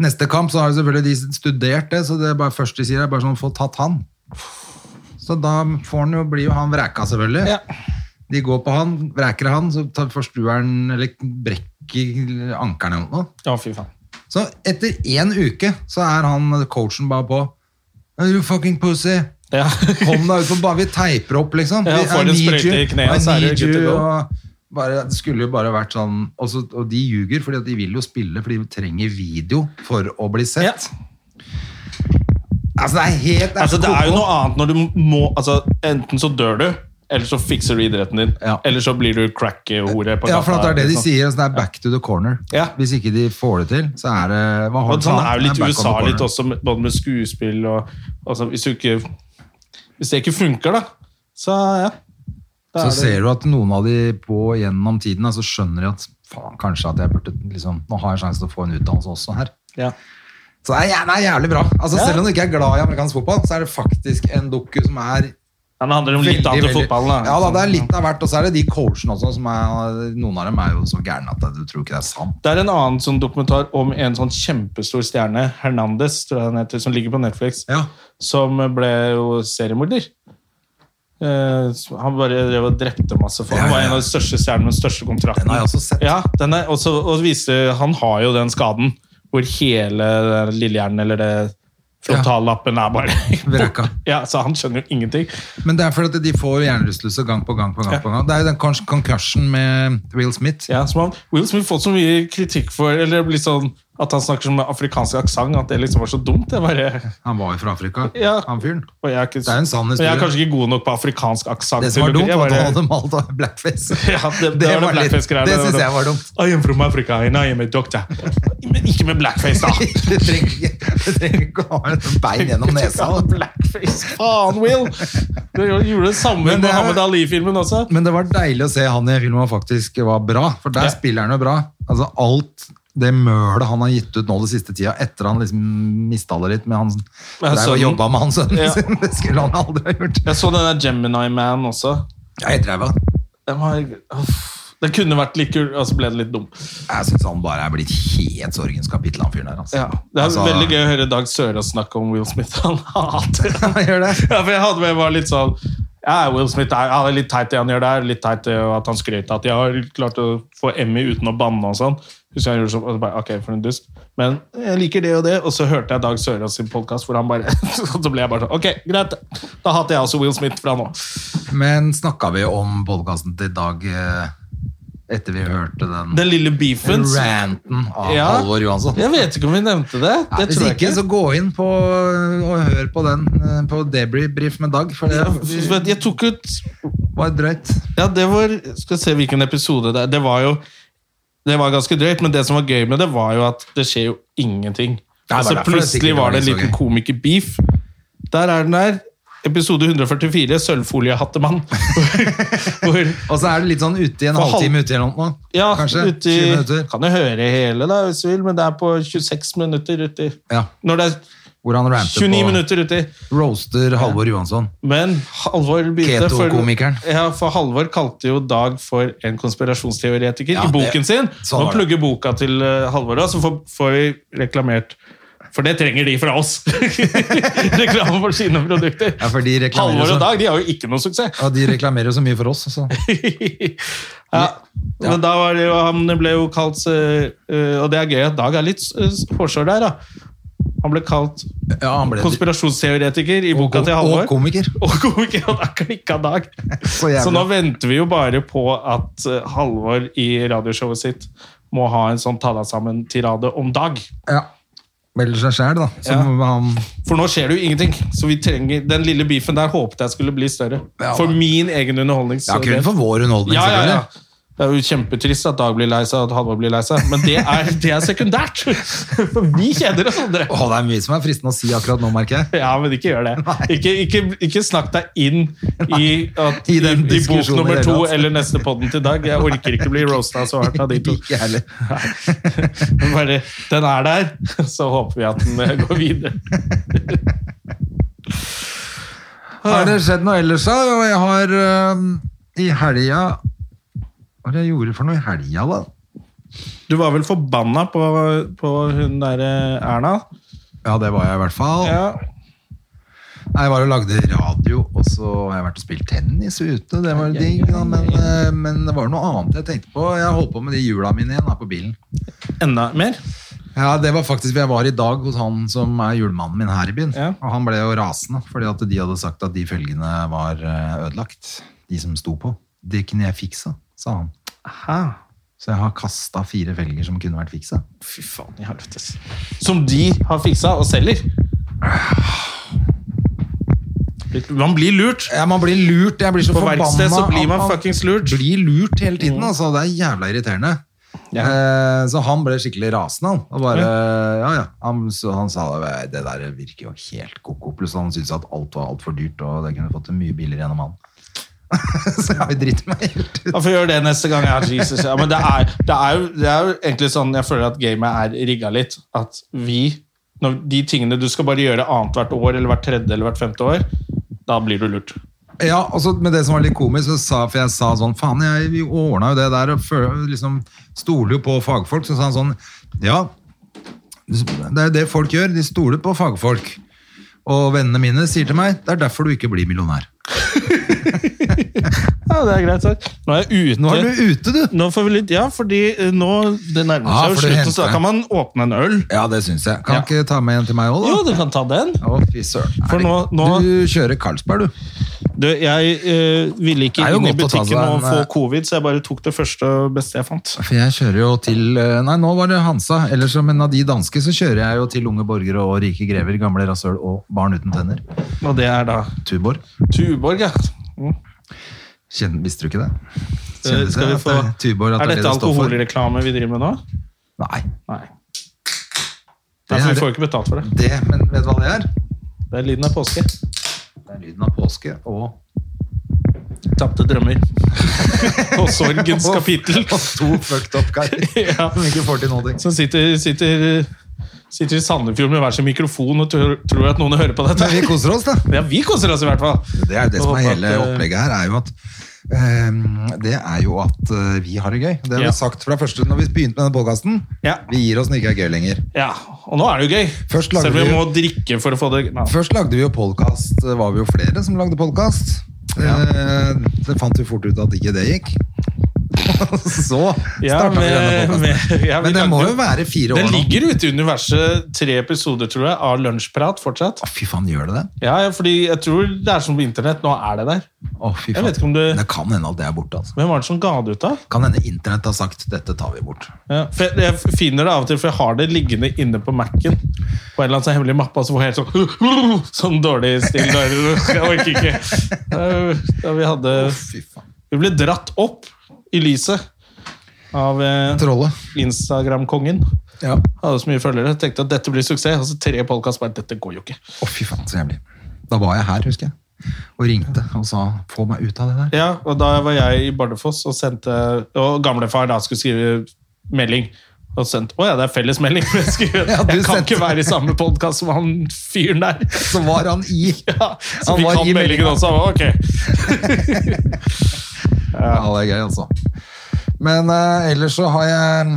[SPEAKER 2] Neste kamp så har jo selvfølgelig de studert det, så det er bare først de sier, er bare sånn, få tatt han. Så da får han jo, blir jo han vreka selvfølgelig.
[SPEAKER 1] Ja.
[SPEAKER 2] De går på han, vreker han, så tar forstuer han, eller brekker ankeren eller noe.
[SPEAKER 1] Å, fy faen.
[SPEAKER 2] Så etter en uke så er han, coachen bare på, you fucking pussy,
[SPEAKER 1] Ja.
[SPEAKER 2] Kom deg ut på banen, vi teiper opp, liksom.
[SPEAKER 1] Ja,
[SPEAKER 2] Vi-
[SPEAKER 1] får
[SPEAKER 2] I
[SPEAKER 1] du en
[SPEAKER 2] need
[SPEAKER 1] sprøyte
[SPEAKER 2] you,
[SPEAKER 1] i kneet,
[SPEAKER 2] I
[SPEAKER 1] så er det
[SPEAKER 2] need
[SPEAKER 1] good to
[SPEAKER 2] you,
[SPEAKER 1] go.
[SPEAKER 2] og bare, det skulle jo bare vært sånn og, så, og de ljuger, fordi at de vil jo spille, fordi de trenger video for å bli sett.
[SPEAKER 1] Ja.
[SPEAKER 2] Altså, det er helt
[SPEAKER 1] Altså, det er jo
[SPEAKER 2] koko.
[SPEAKER 1] noe annet når du må altså, Enten så dør du, eller så fikser du idretten din.
[SPEAKER 2] Ja.
[SPEAKER 1] Eller så blir du crack-hore på
[SPEAKER 2] Ja, for at det er det de
[SPEAKER 1] liksom.
[SPEAKER 2] sier. Altså, det er back to the corner.
[SPEAKER 1] Ja.
[SPEAKER 2] Hvis ikke de får det til, så er det hva har
[SPEAKER 1] Og
[SPEAKER 2] du
[SPEAKER 1] sånn
[SPEAKER 2] tatt?
[SPEAKER 1] er jo litt
[SPEAKER 2] Det back on the
[SPEAKER 1] USA
[SPEAKER 2] corner.
[SPEAKER 1] litt også, med- både med skuespill og altså, hvis, du ikke, hvis det ikke funker, da, så ja. Da
[SPEAKER 2] Så
[SPEAKER 1] er det-
[SPEAKER 2] ser du at noen av de på gjennom tiden, så skjønner de at faen, kanskje at jeg burde liksom, Nå har jeg en sjanse til å få en utdannelse også her.
[SPEAKER 1] ja.
[SPEAKER 2] Så det er, jæ- det er jævlig bra. Altså,
[SPEAKER 1] Ja.
[SPEAKER 2] Selv om du ikke er glad i amerikansk fotball, så er det faktisk en doku som er
[SPEAKER 1] Ja, Det handler om litt annet enn fotballen.
[SPEAKER 2] Ja da, det er litt av hvert. Og så er det de coachene også, som er Noen av dem er jo så gærne at du tror ikke det er sant.
[SPEAKER 1] Det er en annen sånn dokumentar om en sånn kjempestor stjerne, Hernandez, tror jeg han heter, som ligger på Netflix,
[SPEAKER 2] Ja.
[SPEAKER 1] som ble jo seriemorder. Eh, så han bare drev og drepte masse folk.
[SPEAKER 2] Ja, ja,
[SPEAKER 1] Han var
[SPEAKER 2] ja.
[SPEAKER 1] en av de største stjernene med den største kontrakten.
[SPEAKER 2] Den har jeg også sett.
[SPEAKER 1] Ja, den er, og så- og det viser, han har jo den skaden hvor hele den lillehjernen eller det frontallappen er bare
[SPEAKER 2] Vraka.
[SPEAKER 1] Ja, Så han skjønner jo ingenting.
[SPEAKER 2] Men det er fordi at de får hjernerystelse gang på gang på gang.
[SPEAKER 1] Ja.
[SPEAKER 2] på gang. Det er jo den con- concussion med Will Smith.
[SPEAKER 1] Ja, som han, Will Smith fått så mye kritikk for eller litt sånn, at han snakker som med afrikansk aksent, at det liksom var så dumt. Det bare...
[SPEAKER 2] Han var jo fra Afrika,
[SPEAKER 1] Ja.
[SPEAKER 2] han fyren.
[SPEAKER 1] Og jeg er ikke,
[SPEAKER 2] Det er en sann
[SPEAKER 1] og
[SPEAKER 2] historie.
[SPEAKER 1] Jeg er kanskje ikke god nok på afrikansk aksent.
[SPEAKER 2] Det som var dumt,
[SPEAKER 1] Jeg
[SPEAKER 2] var at
[SPEAKER 1] bare-
[SPEAKER 2] han hadde malt av blackface.
[SPEAKER 1] Ja, det, det, var
[SPEAKER 2] var litt-
[SPEAKER 1] blackface-greiene.
[SPEAKER 2] det synes jeg var dumt.
[SPEAKER 1] I am from Africa, and I am a doctor. Men ikke med blackface, da!
[SPEAKER 2] Du trenger ikke- du trenger ikke å ha et bein gjennom
[SPEAKER 1] Du
[SPEAKER 2] nesa.
[SPEAKER 1] skal ha blackface. Faen, Will! Du gjorde det samme med
[SPEAKER 2] Men det er-
[SPEAKER 1] Mohammed Ali-filmen også.
[SPEAKER 2] Men det var deilig å se han i filmen faktisk var bra, for der
[SPEAKER 1] Ja.
[SPEAKER 2] spiller han jo bra. Altså alt det mølet han har gitt ut nå det siste tida, etter han liksom mista det litt med han
[SPEAKER 1] Med
[SPEAKER 2] Det er jo
[SPEAKER 1] sønnen.
[SPEAKER 2] jobba med han sønnen
[SPEAKER 1] Ja.
[SPEAKER 2] sin, det skulle han aldri ha gjort.
[SPEAKER 1] Jeg så den der Gemini Man også.
[SPEAKER 2] Jeg er helt ræva.
[SPEAKER 1] Den var, uff. Den kunne vært litt kul, og så ble den litt dum.
[SPEAKER 2] Jeg syns han bare er blitt helt sorgens kapittel, han fyren her. Altså.
[SPEAKER 1] Ja. Det er
[SPEAKER 2] Altså,
[SPEAKER 1] veldig gøy å høre Dag Sørås snakke om Will Smith. Han hater han.
[SPEAKER 2] Han gjør det.
[SPEAKER 1] Ja, for jeg hadde med var litt sånn ja, Will Smith er, ja, det er litt teit det han gjør der, litt teit det at han skrøt av at jeg har klart å få Emmy uten å banne og sånn. Husker jeg gjorde sånn, og så bare, ok, for en dust. Men jeg liker det og det, og så hørte jeg Dag Sørås sin podkast hvor han bare Så ble jeg bare sånn, ok, greit, da hater jeg også Will Smith fra nå.
[SPEAKER 2] Men snakka vi om podkasten til Dag eh, etter vi hørte den
[SPEAKER 1] Den lille beefen
[SPEAKER 2] ranten av
[SPEAKER 1] Ja.
[SPEAKER 2] Halvor Johansson?
[SPEAKER 1] Jeg vet ikke om vi nevnte det.
[SPEAKER 2] Ja,
[SPEAKER 1] Det
[SPEAKER 2] hvis
[SPEAKER 1] tror jeg
[SPEAKER 2] ikke,
[SPEAKER 1] ikke.
[SPEAKER 2] så gå inn på, og hør på den eh, på debrief med Dag, for det
[SPEAKER 1] Jeg- Jeg tok ut
[SPEAKER 2] var drøyt.
[SPEAKER 1] Ja, det var Skal se hvilken episode det er. Det var jo Det var ganske drøyt, men det som var gøy med det, var jo at det skjer jo ingenting.
[SPEAKER 2] var
[SPEAKER 1] altså,
[SPEAKER 2] derfor det
[SPEAKER 1] plutselig
[SPEAKER 2] sikkert
[SPEAKER 1] var det en
[SPEAKER 2] var så
[SPEAKER 1] liten
[SPEAKER 2] gøy.
[SPEAKER 1] komiker-beef. Der er den der. Episode 144, Sølvfoliehattemann. Hvor
[SPEAKER 2] Og så er det litt sånn ute i en
[SPEAKER 1] For halv-
[SPEAKER 2] halvtime ute i noe.
[SPEAKER 1] ja,
[SPEAKER 2] Kanskje
[SPEAKER 1] uti,
[SPEAKER 2] 20 minutter.
[SPEAKER 1] Kan jo høre hele, da, hvis du vil, men det er på 26 minutter uti.
[SPEAKER 2] Ja,
[SPEAKER 1] Når det er
[SPEAKER 2] hvor han ranter
[SPEAKER 1] 29
[SPEAKER 2] på
[SPEAKER 1] minutter uti.
[SPEAKER 2] roaster Halvor Johansson.
[SPEAKER 1] Men Halvor begynte for-
[SPEAKER 2] Keto-komikeren.
[SPEAKER 1] Ja, for Halvor kalte jo Dag for en konspirasjonsteoretiker
[SPEAKER 2] Ja,
[SPEAKER 1] i
[SPEAKER 2] det-
[SPEAKER 1] boken sin.
[SPEAKER 2] sånn
[SPEAKER 1] Nå
[SPEAKER 2] var det.
[SPEAKER 1] plugger boka til eh, Halvor, da, så får, får vi reklamert. For det trenger de fra oss! Reklame for sine produkter.
[SPEAKER 2] Ja, for de reklamerer
[SPEAKER 1] Halvor
[SPEAKER 2] så-
[SPEAKER 1] og Dag de har jo ikke noe suksess.
[SPEAKER 2] Ja, de reklamerer jo så mye for oss. Så.
[SPEAKER 1] ja. Men da var det jo, han ble jo kalt eh, eh, Og det er gøy at Dag er litt eh, hårsår der, da. Han ble kalt
[SPEAKER 2] Ja, han ble
[SPEAKER 1] konspirasjonsteoretiker i boka til
[SPEAKER 2] og
[SPEAKER 1] Halvor.
[SPEAKER 2] komiker.
[SPEAKER 1] Og komiker, og da klikka Dag.
[SPEAKER 2] Så jævlig.
[SPEAKER 1] Så nå venter vi jo bare på at eh, Halvor i radioshowet sitt må ha en sånn tala sammen-tirade om Dag.
[SPEAKER 2] Ja. Melder seg sjæl, da. Som han
[SPEAKER 1] For nå skjer det jo ingenting. Så vi trenger, den lille beefen der håpet jeg skulle bli større.
[SPEAKER 2] Ja.
[SPEAKER 1] For min egen underholdning.
[SPEAKER 2] Ja, kun for vår underholdning,
[SPEAKER 1] ja, ja, ja.
[SPEAKER 2] selvfølgelig.
[SPEAKER 1] Det er jo kjempetrist at Dag blir lei seg, og at Halvor blir lei seg, men det er, det er sekundært! For vi kjeder oss andre.
[SPEAKER 2] Å, det er mye som er fristende å si akkurat nå, merker jeg.
[SPEAKER 1] Ja, men ikke gjør det.
[SPEAKER 2] Nei.
[SPEAKER 1] Ikke, ikke, ikke snakk deg inn i, at,
[SPEAKER 2] I
[SPEAKER 1] i,
[SPEAKER 2] den
[SPEAKER 1] i bok
[SPEAKER 2] diskusjonen i
[SPEAKER 1] nummer
[SPEAKER 2] det
[SPEAKER 1] to
[SPEAKER 2] hele tatt.
[SPEAKER 1] eller neste podden til Dag. Jeg orker ikke bli roasta så hardt av de to.
[SPEAKER 2] Ikke heller.
[SPEAKER 1] Men Bare, den er der, så håper vi at den eh, går videre.
[SPEAKER 2] Har det skjedd noe ellers, da? Og jeg har øhm, i helga Hva var det jeg gjorde for noe i helga, da?
[SPEAKER 1] Du var vel forbanna på, på hun derre Erna?
[SPEAKER 2] Ja, det var jeg i hvert fall.
[SPEAKER 1] Ja.
[SPEAKER 2] Jeg var og lagde radio, og så har jeg vært og spilt tennis ute. Det var digg, da, men, øh, men det var noe annet jeg tenkte på. Jeg holdt på med de hjula mine igjen da, på bilen.
[SPEAKER 1] Enda mer?
[SPEAKER 2] Ja, det var faktisk Jeg var i dag hos han som er julemannen min her i byen.
[SPEAKER 1] Ja.
[SPEAKER 2] Og han ble jo rasende fordi at de hadde sagt at de følgene var eh, ødelagt. De som sto på. Det kunne jeg fiksa, sa han.
[SPEAKER 1] Aha.
[SPEAKER 2] Så jeg har kasta fire felger som kunne vært fiksa.
[SPEAKER 1] Fy faen i helvetes. Som de har fiksa og selger. Man blir lurt.
[SPEAKER 2] Ja, man blir lurt. Jeg blir så
[SPEAKER 1] På
[SPEAKER 2] forbanna.
[SPEAKER 1] verksted så blir
[SPEAKER 2] at
[SPEAKER 1] man fuckings lurt.
[SPEAKER 2] Blir lurt hele tiden, altså. Det er jævla irriterende.
[SPEAKER 1] Ja.
[SPEAKER 2] Eh, Så han ble skikkelig rasende, han. Og bare, ja, ja. Han, så han sa det der virker jo helt koko. Pluss han syntes at alt var altfor dyrt, og det kunne fått mye biler gjennom han. så jeg har jo dritt meg helt ut.
[SPEAKER 1] Ja, får gjøre det neste gang. Ja, Jesus. Ja, men det er, det, er jo, det er jo egentlig sånn jeg føler at gamet er rigga litt. At vi når De tingene du skal bare gjøre annethvert år eller hvert tredje eller hvert femte år, da blir du lurt.
[SPEAKER 2] Ja, og så med det som var litt komisk, så sa, for jeg sa sånn, faen, jeg vi ordna jo det der, og føl- liksom stoler jo på fagfolk, så sa han sånn, ja, det er jo det folk gjør, de stoler på fagfolk. Og vennene mine sier til meg, det er derfor du ikke blir millionær.
[SPEAKER 1] Ja, det er greit sagt. Nå er jeg ute.
[SPEAKER 2] Nå er du ute, du!
[SPEAKER 1] Nå får vi litt, ja, fordi eh, nå, det nærmer
[SPEAKER 2] Ja,
[SPEAKER 1] seg jo
[SPEAKER 2] for det
[SPEAKER 1] slutt, og så
[SPEAKER 2] henter.
[SPEAKER 1] da kan man åpne en øl.
[SPEAKER 2] Ja, det syns jeg. Kan
[SPEAKER 1] Ja.
[SPEAKER 2] ikke ta med en til meg òg, da?
[SPEAKER 1] Jo, du kan ta den.
[SPEAKER 2] Å, fy søren.
[SPEAKER 1] For nå- nå-
[SPEAKER 2] Du kjører Carlsberg, du.
[SPEAKER 1] Du, jeg eh, ville ikke
[SPEAKER 2] Det er jo
[SPEAKER 1] inn i
[SPEAKER 2] godt å ta seg
[SPEAKER 1] butikken og
[SPEAKER 2] en,
[SPEAKER 1] få
[SPEAKER 2] eh,
[SPEAKER 1] covid, så jeg bare tok det første og beste jeg fant.
[SPEAKER 2] For jeg kjører jo til eh, Nei, nå var det Hansa. Eller som en av de danske, så kjører jeg jo til unge borgere og rike grever, gamle rasøl og barn uten tenner.
[SPEAKER 1] Og det er da
[SPEAKER 2] Tuborg.
[SPEAKER 1] Tuborg, ja. Mm.
[SPEAKER 2] Kjenn, visste du ikke det?
[SPEAKER 1] Eh,
[SPEAKER 2] Kjente
[SPEAKER 1] Skal
[SPEAKER 2] jeg
[SPEAKER 1] vi
[SPEAKER 2] at
[SPEAKER 1] få...
[SPEAKER 2] det er Tuborg, at
[SPEAKER 1] Er
[SPEAKER 2] det er
[SPEAKER 1] dette
[SPEAKER 2] det det står for?
[SPEAKER 1] alkoholreklame vi driver med nå?
[SPEAKER 2] Nei.
[SPEAKER 1] Nei.
[SPEAKER 2] Det
[SPEAKER 1] Nei,
[SPEAKER 2] er
[SPEAKER 1] for vi får
[SPEAKER 2] det.
[SPEAKER 1] jo ikke betalt for det.
[SPEAKER 2] det, men vet du hva det er?
[SPEAKER 1] Det er lyden av påske.
[SPEAKER 2] Det er lyden av påske og
[SPEAKER 1] Tapte drømmer. Og sorgens kapittel.
[SPEAKER 2] Og to fucked up karer
[SPEAKER 1] Ja.
[SPEAKER 2] som ikke får til noen ting.
[SPEAKER 1] Som sitter, sitter, sitter i Sandefjord med hver sin mikrofon og tror, tror at noen hører på dette.
[SPEAKER 2] Men vi koser oss, da.
[SPEAKER 1] Ja, vi koser oss i hvert fall.
[SPEAKER 2] Det er det
[SPEAKER 1] Og
[SPEAKER 2] som er
[SPEAKER 1] håper
[SPEAKER 2] hele
[SPEAKER 1] at, eh,
[SPEAKER 2] opplegget her, er jo at ehm, det er jo at eh, vi har det gøy. Det har
[SPEAKER 1] Ja.
[SPEAKER 2] vi sagt fra første når vi begynte med denne podkasten.
[SPEAKER 1] Ja.
[SPEAKER 2] Vi gir oss når det ikke er gøy lenger.
[SPEAKER 1] Ja, Og nå er det jo gøy.
[SPEAKER 2] Først lagde
[SPEAKER 1] Selv om vi
[SPEAKER 2] vi-
[SPEAKER 1] må drikke for å få det Nei.
[SPEAKER 2] Først lagde vi jo podkast, var vi jo flere som lagde podkast. Det fant vi fort ut at ikke det gikk. Så
[SPEAKER 1] Ja,
[SPEAKER 2] starta vi denne
[SPEAKER 1] med-
[SPEAKER 2] podkasten.
[SPEAKER 1] med- ja, vi
[SPEAKER 2] Men det
[SPEAKER 1] lagde
[SPEAKER 2] må
[SPEAKER 1] jo-
[SPEAKER 2] jo være fire
[SPEAKER 1] Den
[SPEAKER 2] år nå.
[SPEAKER 1] ligger ute i universet tre episoder, tror jeg, av lunsjprat fortsatt.
[SPEAKER 2] Å, fy faen, gjør det det?
[SPEAKER 1] Ja, ja, fordi jeg tror det er som på internett. Nå er det der.
[SPEAKER 2] Å, fy
[SPEAKER 1] Jeg
[SPEAKER 2] faen.
[SPEAKER 1] vet ikke om det-
[SPEAKER 2] det kan hende at det er borte. altså.
[SPEAKER 1] Hvem var det som ga det ut, da?
[SPEAKER 2] Kan hende internett har sagt 'dette tar vi bort'.
[SPEAKER 1] Ja, for jeg, jeg finner det av og til, for jeg har det liggende inne på Mac-en. På en eller annen sånn hemmelig mappe. og Så får jeg helt sånn, sånn dårlig stil. Der. Jeg orker ikke. Da, da vi hadde
[SPEAKER 2] Fy faen.
[SPEAKER 1] Vi ble dratt opp i lyset. av eh,
[SPEAKER 2] Trollet.
[SPEAKER 1] Instagram-kongen.
[SPEAKER 2] Ja.
[SPEAKER 1] Hadde så mye følgere. Tenkte at dette blir suksess. Og så tre podkast bare Dette går jo ikke.
[SPEAKER 2] Å, fy faen, så jævlig. Da var jeg her, husker jeg. Og ringte og sa 'få meg ut av det der'.
[SPEAKER 1] Ja, og da var jeg i Bardufoss og sendte Og gamlefar da skulle skrive melding. Og sendte Å ja, det er fellesmelding! Men jeg, skrev,
[SPEAKER 2] Ja, du
[SPEAKER 1] jeg kan
[SPEAKER 2] sendte-
[SPEAKER 1] ikke være i samme podkast som han fyren der!
[SPEAKER 2] Så var han i!
[SPEAKER 1] Ja, så
[SPEAKER 2] Han
[SPEAKER 1] fikk
[SPEAKER 2] var
[SPEAKER 1] han
[SPEAKER 2] i
[SPEAKER 1] meldingen
[SPEAKER 2] meldingen.
[SPEAKER 1] også. Han var, Ok.
[SPEAKER 2] Ja, det er gøy, altså. Men eh, ellers så har jeg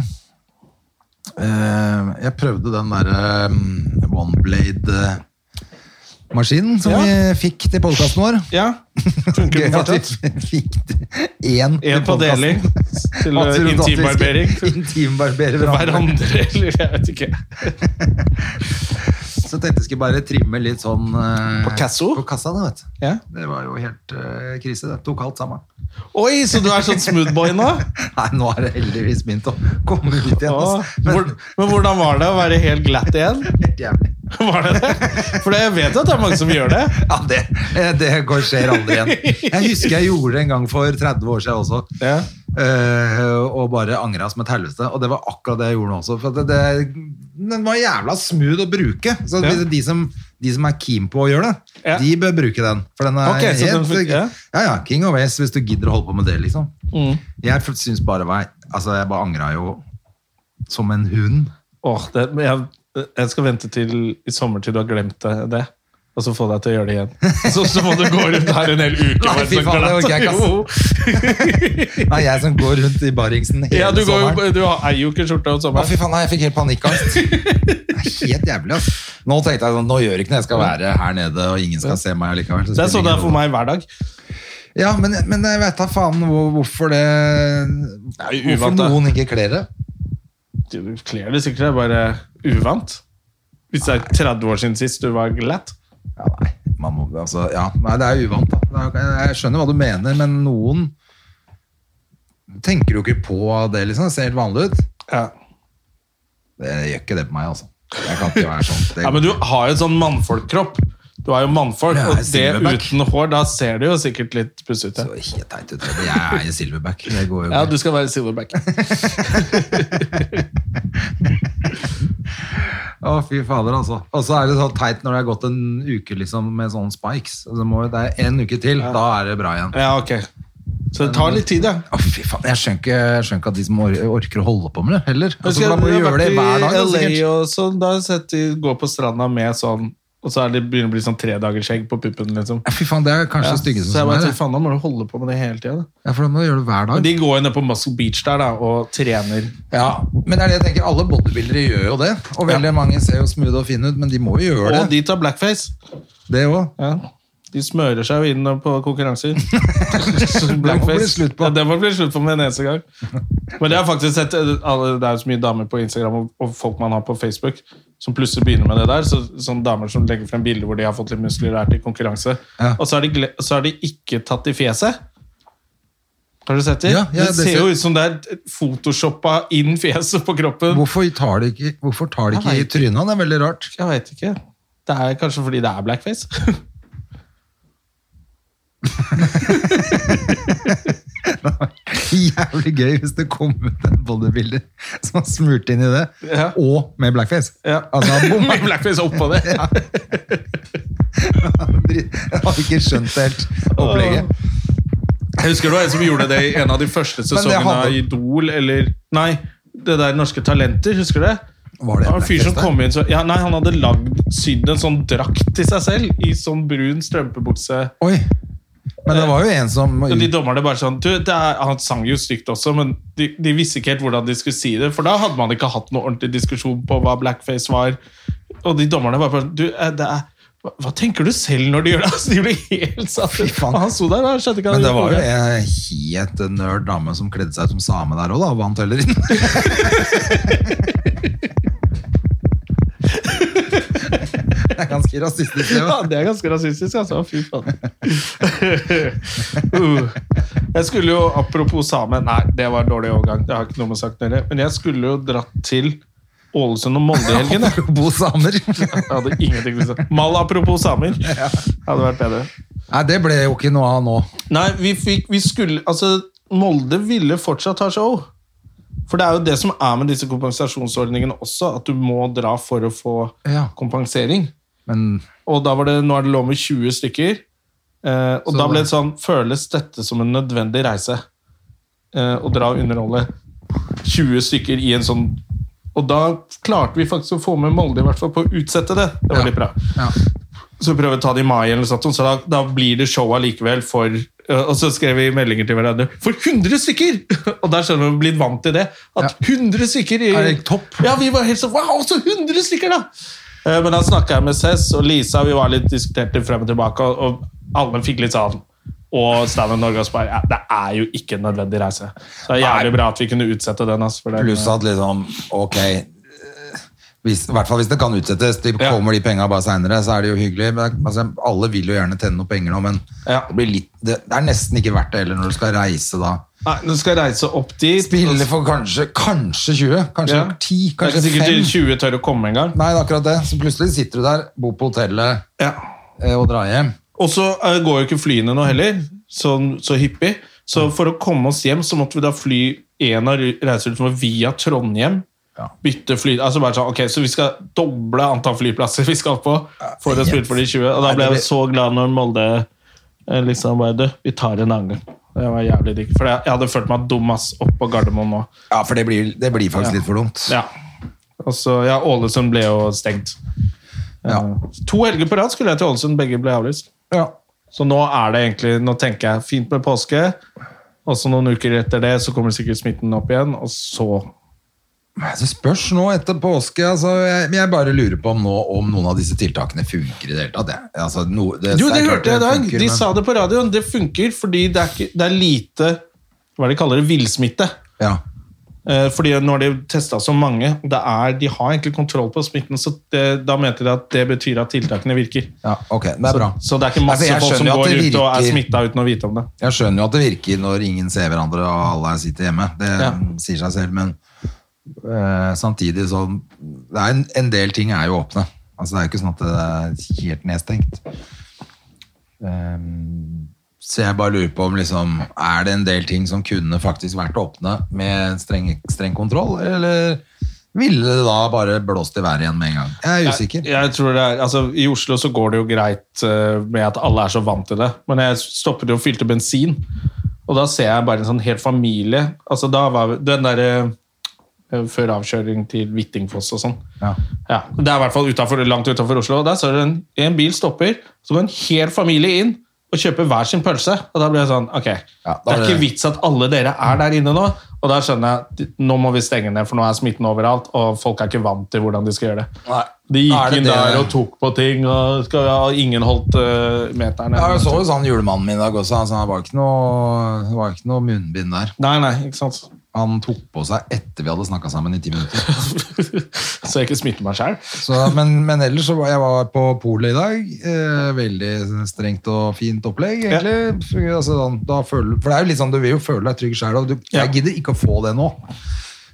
[SPEAKER 2] eh, Jeg prøvde den eh, derre OneBlade-maskinen som
[SPEAKER 1] Ja.
[SPEAKER 2] vi fikk til podkasten vår.
[SPEAKER 1] Ja. Funker
[SPEAKER 2] Gøy
[SPEAKER 1] den
[SPEAKER 2] at
[SPEAKER 1] fortsatt?
[SPEAKER 2] vi fikk én
[SPEAKER 1] En på deling til eh,
[SPEAKER 2] Absolutt at vi skal
[SPEAKER 1] intimbarbering.
[SPEAKER 2] Intimbarbere hverandre.
[SPEAKER 1] Hverandre, eller jeg vet ikke.
[SPEAKER 2] Så tenkte jeg skulle bare trimme litt sånn eh,
[SPEAKER 1] På Casso?
[SPEAKER 2] På kassa, da, vet du.
[SPEAKER 1] Ja.
[SPEAKER 2] Det var jo helt eh, krise, det. Tok alt sammen.
[SPEAKER 1] Oi, så du er sånn smoothboy nå?
[SPEAKER 2] Nei, nå har det heldigvis begynt å komme ut igjen.
[SPEAKER 1] Å,
[SPEAKER 2] Altså.
[SPEAKER 1] hvor,
[SPEAKER 2] Men
[SPEAKER 1] men hvordan var det å være helt glatt igjen?
[SPEAKER 2] helt jævlig.
[SPEAKER 1] Var det det? For jeg vet at det er mange som gjør det.
[SPEAKER 2] Ja, det, eh, det går, skjer aldri igjen. Jeg husker jeg gjorde det en gang for 30 år siden også.
[SPEAKER 1] Ja.
[SPEAKER 2] eh, og bare angra som et helvete. Og det var akkurat det jeg gjorde nå også. For at det, det, den var jævla smooth å bruke. Så
[SPEAKER 1] Ja.
[SPEAKER 2] de, som, de som er keen på å gjøre det,
[SPEAKER 1] Ja.
[SPEAKER 2] de bør bruke den. For den er
[SPEAKER 1] Ok, så den
[SPEAKER 2] helt
[SPEAKER 1] funker, ja.
[SPEAKER 2] ja. ja, King of Ace, hvis du gidder å holde på med det, liksom.
[SPEAKER 1] Mm.
[SPEAKER 2] Jeg syns bare var, Altså, jeg bare angra jo som en hund.
[SPEAKER 1] Åh, det, men jeg, jeg skal vente til i sommer til du har glemt det- det. Og så få deg til å gjøre det igjen. Så, så må du gå rundt her en hel uke.
[SPEAKER 2] Nei,
[SPEAKER 1] bare
[SPEAKER 2] fy
[SPEAKER 1] så
[SPEAKER 2] faen, det
[SPEAKER 1] glatt.
[SPEAKER 2] orker jeg ikke,
[SPEAKER 1] Jo.
[SPEAKER 2] Nei, jeg som går rundt i Barringsen hele
[SPEAKER 1] Ja, du, går,
[SPEAKER 2] sommeren.
[SPEAKER 1] jo- du har- eier jo ikke skjorta
[SPEAKER 2] Å,
[SPEAKER 1] om
[SPEAKER 2] fy
[SPEAKER 1] sommeren.
[SPEAKER 2] faen, nei, jeg fikk helt panikkangst. Det er helt jævlig, ass. Nå tenkte jeg sånn, nå gjør ikke noe, jeg skal være her nede, og ingen skal se meg likevel.
[SPEAKER 1] Det er sånn det er for meg hver dag.
[SPEAKER 2] Ja, men, men jeg vet da faen hvor- hvorfor det...
[SPEAKER 1] er jo
[SPEAKER 2] hvorfor
[SPEAKER 1] uvant, da.
[SPEAKER 2] noen ikke kler det.
[SPEAKER 1] Du du kler det sikkert, det er bare uvant. Hvis det er 30 år siden sist du var glatt.
[SPEAKER 2] Ja, nei, man må, altså, ja, nei, det er uvant, da. Det er- Jeg skjønner hva du mener, men noen tenker jo ikke på det, liksom. Det ser helt vanlig ut.
[SPEAKER 1] Ja.
[SPEAKER 2] Det gjør ikke det på meg, altså. Jeg kan ikke være sånn. Det,
[SPEAKER 1] Ja, men du har jo en sånn mannfolkkropp. Du er jo mannfolk,
[SPEAKER 2] Ja,
[SPEAKER 1] og det
[SPEAKER 2] silverback.
[SPEAKER 1] uten hår, da ser det jo sikkert litt pussete ut.
[SPEAKER 2] så helt teit ut. Jeg er jo silverback. Det går jo
[SPEAKER 1] Ja,
[SPEAKER 2] ikke.
[SPEAKER 1] du skal være silverback.
[SPEAKER 2] Å, fy fader, altså. Og så er det så teit når det har gått en uke liksom, med sånne spikes. Så må, det er en uke til, da er det bra igjen.
[SPEAKER 1] Ja, ok. Så det tar litt tid, ja.
[SPEAKER 2] Å, fy faen, Jeg skjønner ikke, jeg skjønner ikke at de som or orker å holde på med det, heller. Altså,
[SPEAKER 1] Husker
[SPEAKER 2] da må du
[SPEAKER 1] jeg har
[SPEAKER 2] gjøre det
[SPEAKER 1] vært
[SPEAKER 2] hver dag.
[SPEAKER 1] i
[SPEAKER 2] Da,
[SPEAKER 1] LA
[SPEAKER 2] sikkert.
[SPEAKER 1] og sånn, da har jeg sett de gå på stranda med sånn, og så er det begynner det å bli sånn tredagersskjegg på puppen, liksom.
[SPEAKER 2] Ja, fy faen, det er kanskje
[SPEAKER 1] Ja,
[SPEAKER 2] det
[SPEAKER 1] så jeg
[SPEAKER 2] styggeste som
[SPEAKER 1] bare
[SPEAKER 2] er.
[SPEAKER 1] tenker, faen, da må du holde på med det hele tiden. da.
[SPEAKER 2] Ja, for da må du gjøre det hver
[SPEAKER 1] Men
[SPEAKER 2] dag.
[SPEAKER 1] De går jo ned på Muscle Beach der da, og trener.
[SPEAKER 2] Ja, men det er det jeg tenker, alle bodybuildere gjør jo det. Og veldig mange ser jo smooth og fine ut, men de må jo gjøre
[SPEAKER 1] Og
[SPEAKER 2] det.
[SPEAKER 1] de tar blackface.
[SPEAKER 2] Det òg.
[SPEAKER 1] Ja. De smører seg jo inn på konkurranser.
[SPEAKER 2] Det må bli slutt på.
[SPEAKER 1] Ja, det må bli slutt på med en eneste gang. Men det har jeg faktisk sett eh, alle, Det er jo så mye damer på Instagram og, og folk man har på Facebook som plutselig begynner med det der. Så, sånne damer som legger frem bilder hvor de har fått litt muskler og er til konkurranse.
[SPEAKER 2] Ja.
[SPEAKER 1] Og så har de, gle- så er de ikke tatt i fjeset. Har du sett det?
[SPEAKER 2] Ja, ja,
[SPEAKER 1] det,
[SPEAKER 2] det
[SPEAKER 1] ser jo
[SPEAKER 2] ser-
[SPEAKER 1] ut som det er photoshoppa inn fjeset på kroppen.
[SPEAKER 2] Hvorfor tar de ikke, hvorfor tar de ikke i
[SPEAKER 1] Jeg
[SPEAKER 2] trynet? Det er veldig rart.
[SPEAKER 1] Jeg veit ikke. Det er kanskje fordi det er blackface.
[SPEAKER 2] Jævlig gøy hvis det kom ut en bodybuilder som har smurt inn i det,
[SPEAKER 1] Ja.
[SPEAKER 2] og med blackface.
[SPEAKER 1] Ja.
[SPEAKER 2] Altså, han bomma.
[SPEAKER 1] Med blackface oppå det.
[SPEAKER 2] Dritt. Jeg hadde ikke skjønt det helt opplegget.
[SPEAKER 1] Jeg husker det var en som gjorde det i en av de første sesongene
[SPEAKER 2] hadde-
[SPEAKER 1] av Idol, eller Nei, det der Norske Talenter, husker du det?
[SPEAKER 2] Var det
[SPEAKER 1] var en fyr
[SPEAKER 2] blackface
[SPEAKER 1] som
[SPEAKER 2] der?
[SPEAKER 1] kom inn så, ja, Nei, han hadde lagd sydd en sånn drakt til seg selv, i sånn brun strømpebukse.
[SPEAKER 2] Oi. Men det var jo en som
[SPEAKER 1] Og de dommerne bare sånn du, det er, Han sang jo stygt også, men de, de visste ikke helt hvordan de skulle si det, for da hadde man ikke hatt noe ordentlig diskusjon på hva blackface var. Og de dommerne bare bare, du, eh, det er hva, hva tenker du selv når du gjør det? Altså, de ble helt satt ut.
[SPEAKER 2] faen.
[SPEAKER 1] Og Han sto der og skjønte ikke hva
[SPEAKER 2] Men
[SPEAKER 1] han
[SPEAKER 2] det var jo
[SPEAKER 1] gjorde.
[SPEAKER 2] en helt nerd dame som kledde seg ut som same der òg, da, og vant heller inn. Det er ganske rasistisk. det,
[SPEAKER 1] Ja,
[SPEAKER 2] da.
[SPEAKER 1] det er ganske rasistisk, altså. Fy faen. Uh. Jeg skulle jo, apropos same Nei, det var en dårlig overgang. Det har ikke noe med saken å gjøre. Men jeg skulle jo dratt til Ålesund og Molde i helgen. jeg.
[SPEAKER 2] Apropos samer.
[SPEAKER 1] Jeg hadde ingenting til å si. Mal apropos samer. Hadde vært bedre.
[SPEAKER 2] Nei, det ble jo ikke noe av nå.
[SPEAKER 1] Nei, vi fikk Vi skulle Altså, Molde ville fortsatt ha show. For det er jo det som er med disse kompensasjonsordningene også, at du må dra for å få
[SPEAKER 2] Ja.
[SPEAKER 1] kompensering.
[SPEAKER 2] Men
[SPEAKER 1] Og da var det, nå er det lov med 20 stykker. Eh, og
[SPEAKER 2] Så
[SPEAKER 1] da ble
[SPEAKER 2] det-
[SPEAKER 1] det sånn Føles dette som en nødvendig reise? Eh, å dra og underholde 20 stykker i en sånn Og da klarte vi faktisk å få med Molde i hvert fall på å utsette det. Det var
[SPEAKER 2] Ja.
[SPEAKER 1] litt bra.
[SPEAKER 2] ja.
[SPEAKER 1] Så vi prøver å ta det i mai, eller noe sånt, så da, da blir det show allikevel for eh, Og så skrev vi meldinger til hverandre for 100 stykker! Og der skjønner vi at vi blir vant til det. At 100 stykker i,
[SPEAKER 2] Er det topp?
[SPEAKER 1] Ja, vi var helt sånn Wow, så 100 stykker, da! Eh, Men da snakka jeg med Cess og Lisa, vi var litt diskuterte frem og tilbake, og, og alle fikk litt sånn og Standup Norge også bare ja, Det er jo ikke en nødvendig reise. Så det er jævlig bra at vi kunne utsette den. ass, for den-
[SPEAKER 2] Pluss at liksom, ok eh, hvis, I hvert fall hvis det kan utsettes. De
[SPEAKER 1] Ja.
[SPEAKER 2] kommer de penga bare seinere, så er det jo hyggelig. Men det er- altså, alle vil jo gjerne tjene noen penger nå, men
[SPEAKER 1] Ja.
[SPEAKER 2] det, blir litt, det, det er nesten ikke verdt det heller når du skal reise da.
[SPEAKER 1] Nei, du skal reise opp dit.
[SPEAKER 2] Spille for kanskje, kanskje 20, kanskje
[SPEAKER 1] Ja.
[SPEAKER 2] 10, kanskje
[SPEAKER 1] Det er ikke
[SPEAKER 2] 5.
[SPEAKER 1] sikkert 20 tør å komme engang.
[SPEAKER 2] Nei, det er akkurat det. Så plutselig sitter du der, bor på hotellet
[SPEAKER 1] Ja.
[SPEAKER 2] eh, og drar hjem.
[SPEAKER 1] Og så eh, går jo ikke flyene nå heller, så, så hyppig.
[SPEAKER 2] Mm.
[SPEAKER 1] Så for å komme oss hjem, så måtte vi da fly en av reiserutene vår via Trondheim.
[SPEAKER 2] Ja.
[SPEAKER 1] Bytte fly altså bare sånn, ok, Så vi skal doble antall flyplasser vi skal på for å
[SPEAKER 2] yes.
[SPEAKER 1] spille for de 20. Og da
[SPEAKER 2] Nei,
[SPEAKER 1] ble
[SPEAKER 2] det
[SPEAKER 1] jeg så glad når Molde eh, liksom bare Du, vi tar en annen gang. Det var jævlig digg. For jeg, jeg hadde følt meg dum ass opp på Gardermoen nå.
[SPEAKER 2] Ja, for det blir, det blir faktisk litt for dumt.
[SPEAKER 1] Ja. Og så, ja, Ålesund ble jo stengt. Eh,
[SPEAKER 2] Ja.
[SPEAKER 1] To helger på rad skulle jeg til Ålesund, begge ble avlyst.
[SPEAKER 2] Ja.
[SPEAKER 1] Så nå er det egentlig, nå tenker jeg fint med påske, og så noen uker etter det så kommer sikkert smitten opp igjen, og så
[SPEAKER 2] Det Altså, spørs nå etter påske. Altså, jeg, men jeg bare lurer på om, nå, om noen av disse tiltakene funker i det hele tatt. jeg. Altså, no, det,
[SPEAKER 1] Jo,
[SPEAKER 2] det er
[SPEAKER 1] det
[SPEAKER 2] klart
[SPEAKER 1] hørte jeg i dag!
[SPEAKER 2] funker,
[SPEAKER 1] De
[SPEAKER 2] men-
[SPEAKER 1] sa det på radioen. Det funker fordi det er, ikke, det er lite Hva er det de kaller det? Villsmitte.
[SPEAKER 2] ja.
[SPEAKER 1] Eh, Fordi når de testa så mange, det er, de har egentlig kontroll på smitten, så det, da mente de at det betyr at tiltakene virker.
[SPEAKER 2] ja, ok, det er bra.
[SPEAKER 1] Så det er ikke masse
[SPEAKER 2] Altså, jeg
[SPEAKER 1] folk som
[SPEAKER 2] skjønner jo at
[SPEAKER 1] går
[SPEAKER 2] det
[SPEAKER 1] ut og er
[SPEAKER 2] virker.
[SPEAKER 1] smitta uten å vite om det.
[SPEAKER 2] Jeg skjønner jo at det virker når ingen ser hverandre og alle sitter hjemme. Det
[SPEAKER 1] Ja.
[SPEAKER 2] sier seg selv, men eh, samtidig så det er en, en del ting er jo åpne. Altså, det er jo ikke sånn at det er helt nedstengt. Ehm, så jeg bare lurer på om liksom, er det en del ting som kunne faktisk vært åpne med streng, streng kontroll, eller ville det da bare blåst i været igjen med en gang? Jeg er usikker.
[SPEAKER 1] Jeg, jeg tror det er, altså I Oslo så går det jo greit eh, med at alle er så vant til det, men jeg stoppet jo og fylte bensin, og da ser jeg bare en sånn hel familie altså da var vi- Den derre før avkjøring til Hvittingfoss og sånn.
[SPEAKER 2] Ja.
[SPEAKER 1] Ja, Det er i hvert fall utenfor, langt utafor Oslo. og Der ser du en, en bil stopper, så går en hel familie inn og kjøper hver sin pølse. Og da blir jeg sånn Ok,
[SPEAKER 2] Ja, da
[SPEAKER 1] det er
[SPEAKER 2] blir
[SPEAKER 1] ikke
[SPEAKER 2] det-
[SPEAKER 1] vits at alle dere er der inne nå. Og da skjønner jeg at nå må vi stenge ned, for nå er smitten overalt, og folk er ikke vant til hvordan de skal gjøre det.
[SPEAKER 2] Nei,
[SPEAKER 1] De
[SPEAKER 2] da er
[SPEAKER 1] gikk
[SPEAKER 2] det
[SPEAKER 1] inn
[SPEAKER 2] det-
[SPEAKER 1] der og tok på ting, og, skal, ja, ingen holdt eh, meterne.
[SPEAKER 2] Ja, jeg så jo sånn julemannen min i dag også. Altså, det var ikke noe, det var ikke noe munnbind der.
[SPEAKER 1] Nei, nei, ikke sant.
[SPEAKER 2] Han tok på seg etter vi hadde snakka sammen i ti minutter.
[SPEAKER 1] så jeg ikke smitter meg sjæl.
[SPEAKER 2] Så, men, men ellers så var jeg var på polet i dag. Eh, veldig strengt og fint opplegg, egentlig. Altså, da, da føler, for det er jo litt sånn, du vil jo føle deg trygg sjæl, og du,
[SPEAKER 1] Ja.
[SPEAKER 2] jeg gidder ikke å få det nå.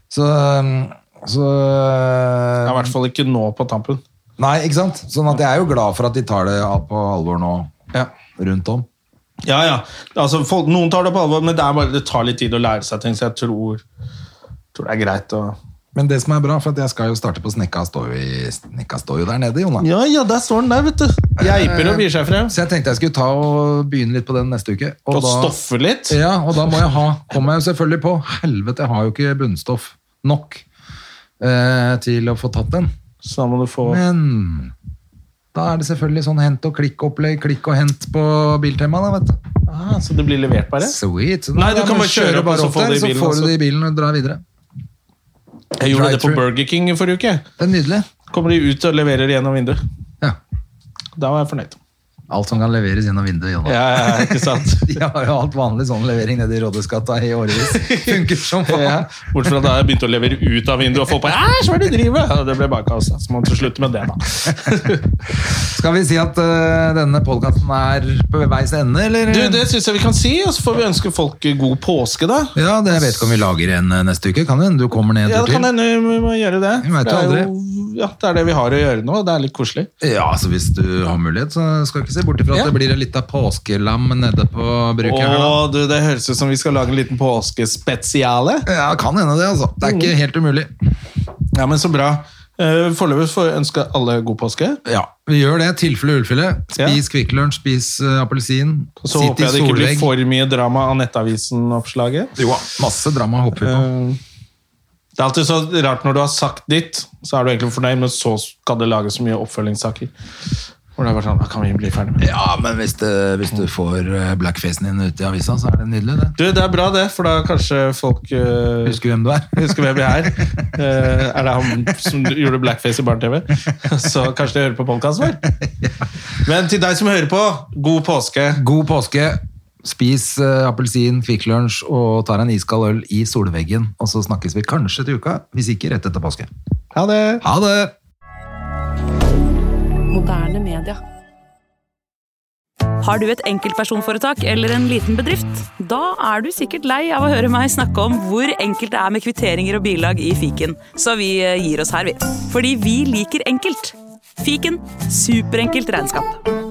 [SPEAKER 2] Så, um, så
[SPEAKER 1] I hvert fall ikke nå på tampen.
[SPEAKER 2] Nei, ikke sant? Sånn at jeg er jo glad for at de tar det på alvor nå
[SPEAKER 1] Ja.
[SPEAKER 2] rundt om.
[SPEAKER 1] Ja, ja. Altså, folk, noen tar det på alvor, men det, er bare, det tar litt tid å lære seg ting, så jeg tror, tror det er greit å
[SPEAKER 2] Men det som er bra, for at jeg skal jo starte på Snekka, står jo, i, snekka står jo der nede, Jonna.
[SPEAKER 1] Ja, ja, der står den der, vet du. Geiper og bier seg frem.
[SPEAKER 2] Så jeg tenkte jeg skulle ta og begynne litt på den neste uke.
[SPEAKER 1] Og stoffer litt.
[SPEAKER 2] Ja, og da må jeg ha, kommer jeg jo selvfølgelig på, helvete, jeg har jo ikke bunnstoff nok eh, til å få tatt den.
[SPEAKER 1] Så da må du få
[SPEAKER 2] Men da er det selvfølgelig sånn hent og klikk-opplegg, klikk og hent på Biltema da, vet du.
[SPEAKER 1] ah, Så det blir levert, bare?
[SPEAKER 2] Sweet. Så
[SPEAKER 1] Nei,
[SPEAKER 2] da
[SPEAKER 1] du kan
[SPEAKER 2] må
[SPEAKER 1] bare
[SPEAKER 2] jeg
[SPEAKER 1] kjøre opp, og så
[SPEAKER 2] opp
[SPEAKER 1] får
[SPEAKER 2] der,
[SPEAKER 1] du det i bilen
[SPEAKER 2] Så får
[SPEAKER 1] også.
[SPEAKER 2] du det i bilen og drar videre.
[SPEAKER 1] Jeg gjorde det på
[SPEAKER 2] Drive-thru.
[SPEAKER 1] Burger King i forrige uke.
[SPEAKER 2] Det er nydelig.
[SPEAKER 1] Kommer de ut og leverer det gjennom vinduet.
[SPEAKER 2] Ja.
[SPEAKER 1] Da var jeg fornøyd.
[SPEAKER 2] Alt som kan leveres gjennom vinduet, Jonna.
[SPEAKER 1] Ja, ja, ikke sant?
[SPEAKER 2] De har jo alt vanlig sånn levering nede i Rådhusgata i årevis. Funker som faen.
[SPEAKER 1] Ja. Bortsett fra da jeg begynte å levere ut av vinduet, og folk bare Æsj, hva er det du driver med? Ja, Det ble bare kaos. da. Så må man slutte med det, da.
[SPEAKER 2] Skal vi si at eh, denne podkasten er på veis ende, eller?
[SPEAKER 1] Du, Det syns jeg vi kan si, og så får vi ønske folk god påske, da.
[SPEAKER 2] Ja, det jeg vet ikke om vi lager en eh, neste uke. Kan det hende du kommer ned
[SPEAKER 1] Ja,
[SPEAKER 2] en tur
[SPEAKER 1] det kan
[SPEAKER 2] til?
[SPEAKER 1] hende vi må gjøre det.
[SPEAKER 2] Vi vet jo
[SPEAKER 1] det er
[SPEAKER 2] aldri.
[SPEAKER 1] jo ja, det er det vi har å gjøre nå. og Det er litt koselig.
[SPEAKER 2] Ja, altså Hvis du har mulighet, så skal jeg ikke se bort ifra at
[SPEAKER 1] Ja.
[SPEAKER 2] det blir en lita påskelam nede på bruket. her da.
[SPEAKER 1] Å, du, det høres ut som vi skal lage en liten påskespesiale.
[SPEAKER 2] Ja, kan hende det, altså. Det er
[SPEAKER 1] Mm.
[SPEAKER 2] ikke helt umulig.
[SPEAKER 1] Ja, men så bra. Eh, Foreløpig får jeg ønske alle god påske.
[SPEAKER 2] Ja, Vi gjør det. Tilfelle ullfille. Spis Kvikk Lunsj, spis eh, appelsin.
[SPEAKER 1] Og så
[SPEAKER 2] Sitt
[SPEAKER 1] håper
[SPEAKER 2] i
[SPEAKER 1] jeg det ikke blir
[SPEAKER 2] solvegg.
[SPEAKER 1] for mye drama av Nettavisen-oppslaget.
[SPEAKER 2] Jo, masse drama hopper vi på.
[SPEAKER 1] Eh, Det er alltid så rart når du har sagt ditt, så er du egentlig fornøyd, men så skal det lages så mye oppfølgingssaker. Hvor det er bare sånn, da kan vi bli ferdig med det.
[SPEAKER 2] Ja, men hvis, det, hvis du får eh, blackfacen din ute i avisa, så er det nydelig, det.
[SPEAKER 1] Du, det er bra det, for da kanskje folk eh,
[SPEAKER 2] Husker hvem du er.
[SPEAKER 1] Husker hvem vi er. Eh, er det han som gjorde blackface i barne-TV? Så kanskje de hører på podkasten vår. Men til deg som hører på, god påske.
[SPEAKER 2] God påske. Spis eh, appelsin, Kvikk Lunsj og tar en iskald øl i solveggen. Og så snakkes vi kanskje til uka, hvis ikke rett etter påske.
[SPEAKER 1] Ha det!
[SPEAKER 2] Ha det!
[SPEAKER 3] Moderne media.
[SPEAKER 4] Har du et enkeltpersonforetak eller en liten bedrift? Da er du sikkert lei av å høre meg snakke om hvor enkelt det er med kvitteringer og bilag i fiken, så vi eh, gir oss her, vi. Fordi vi liker enkelt. Fiken superenkelt regnskap.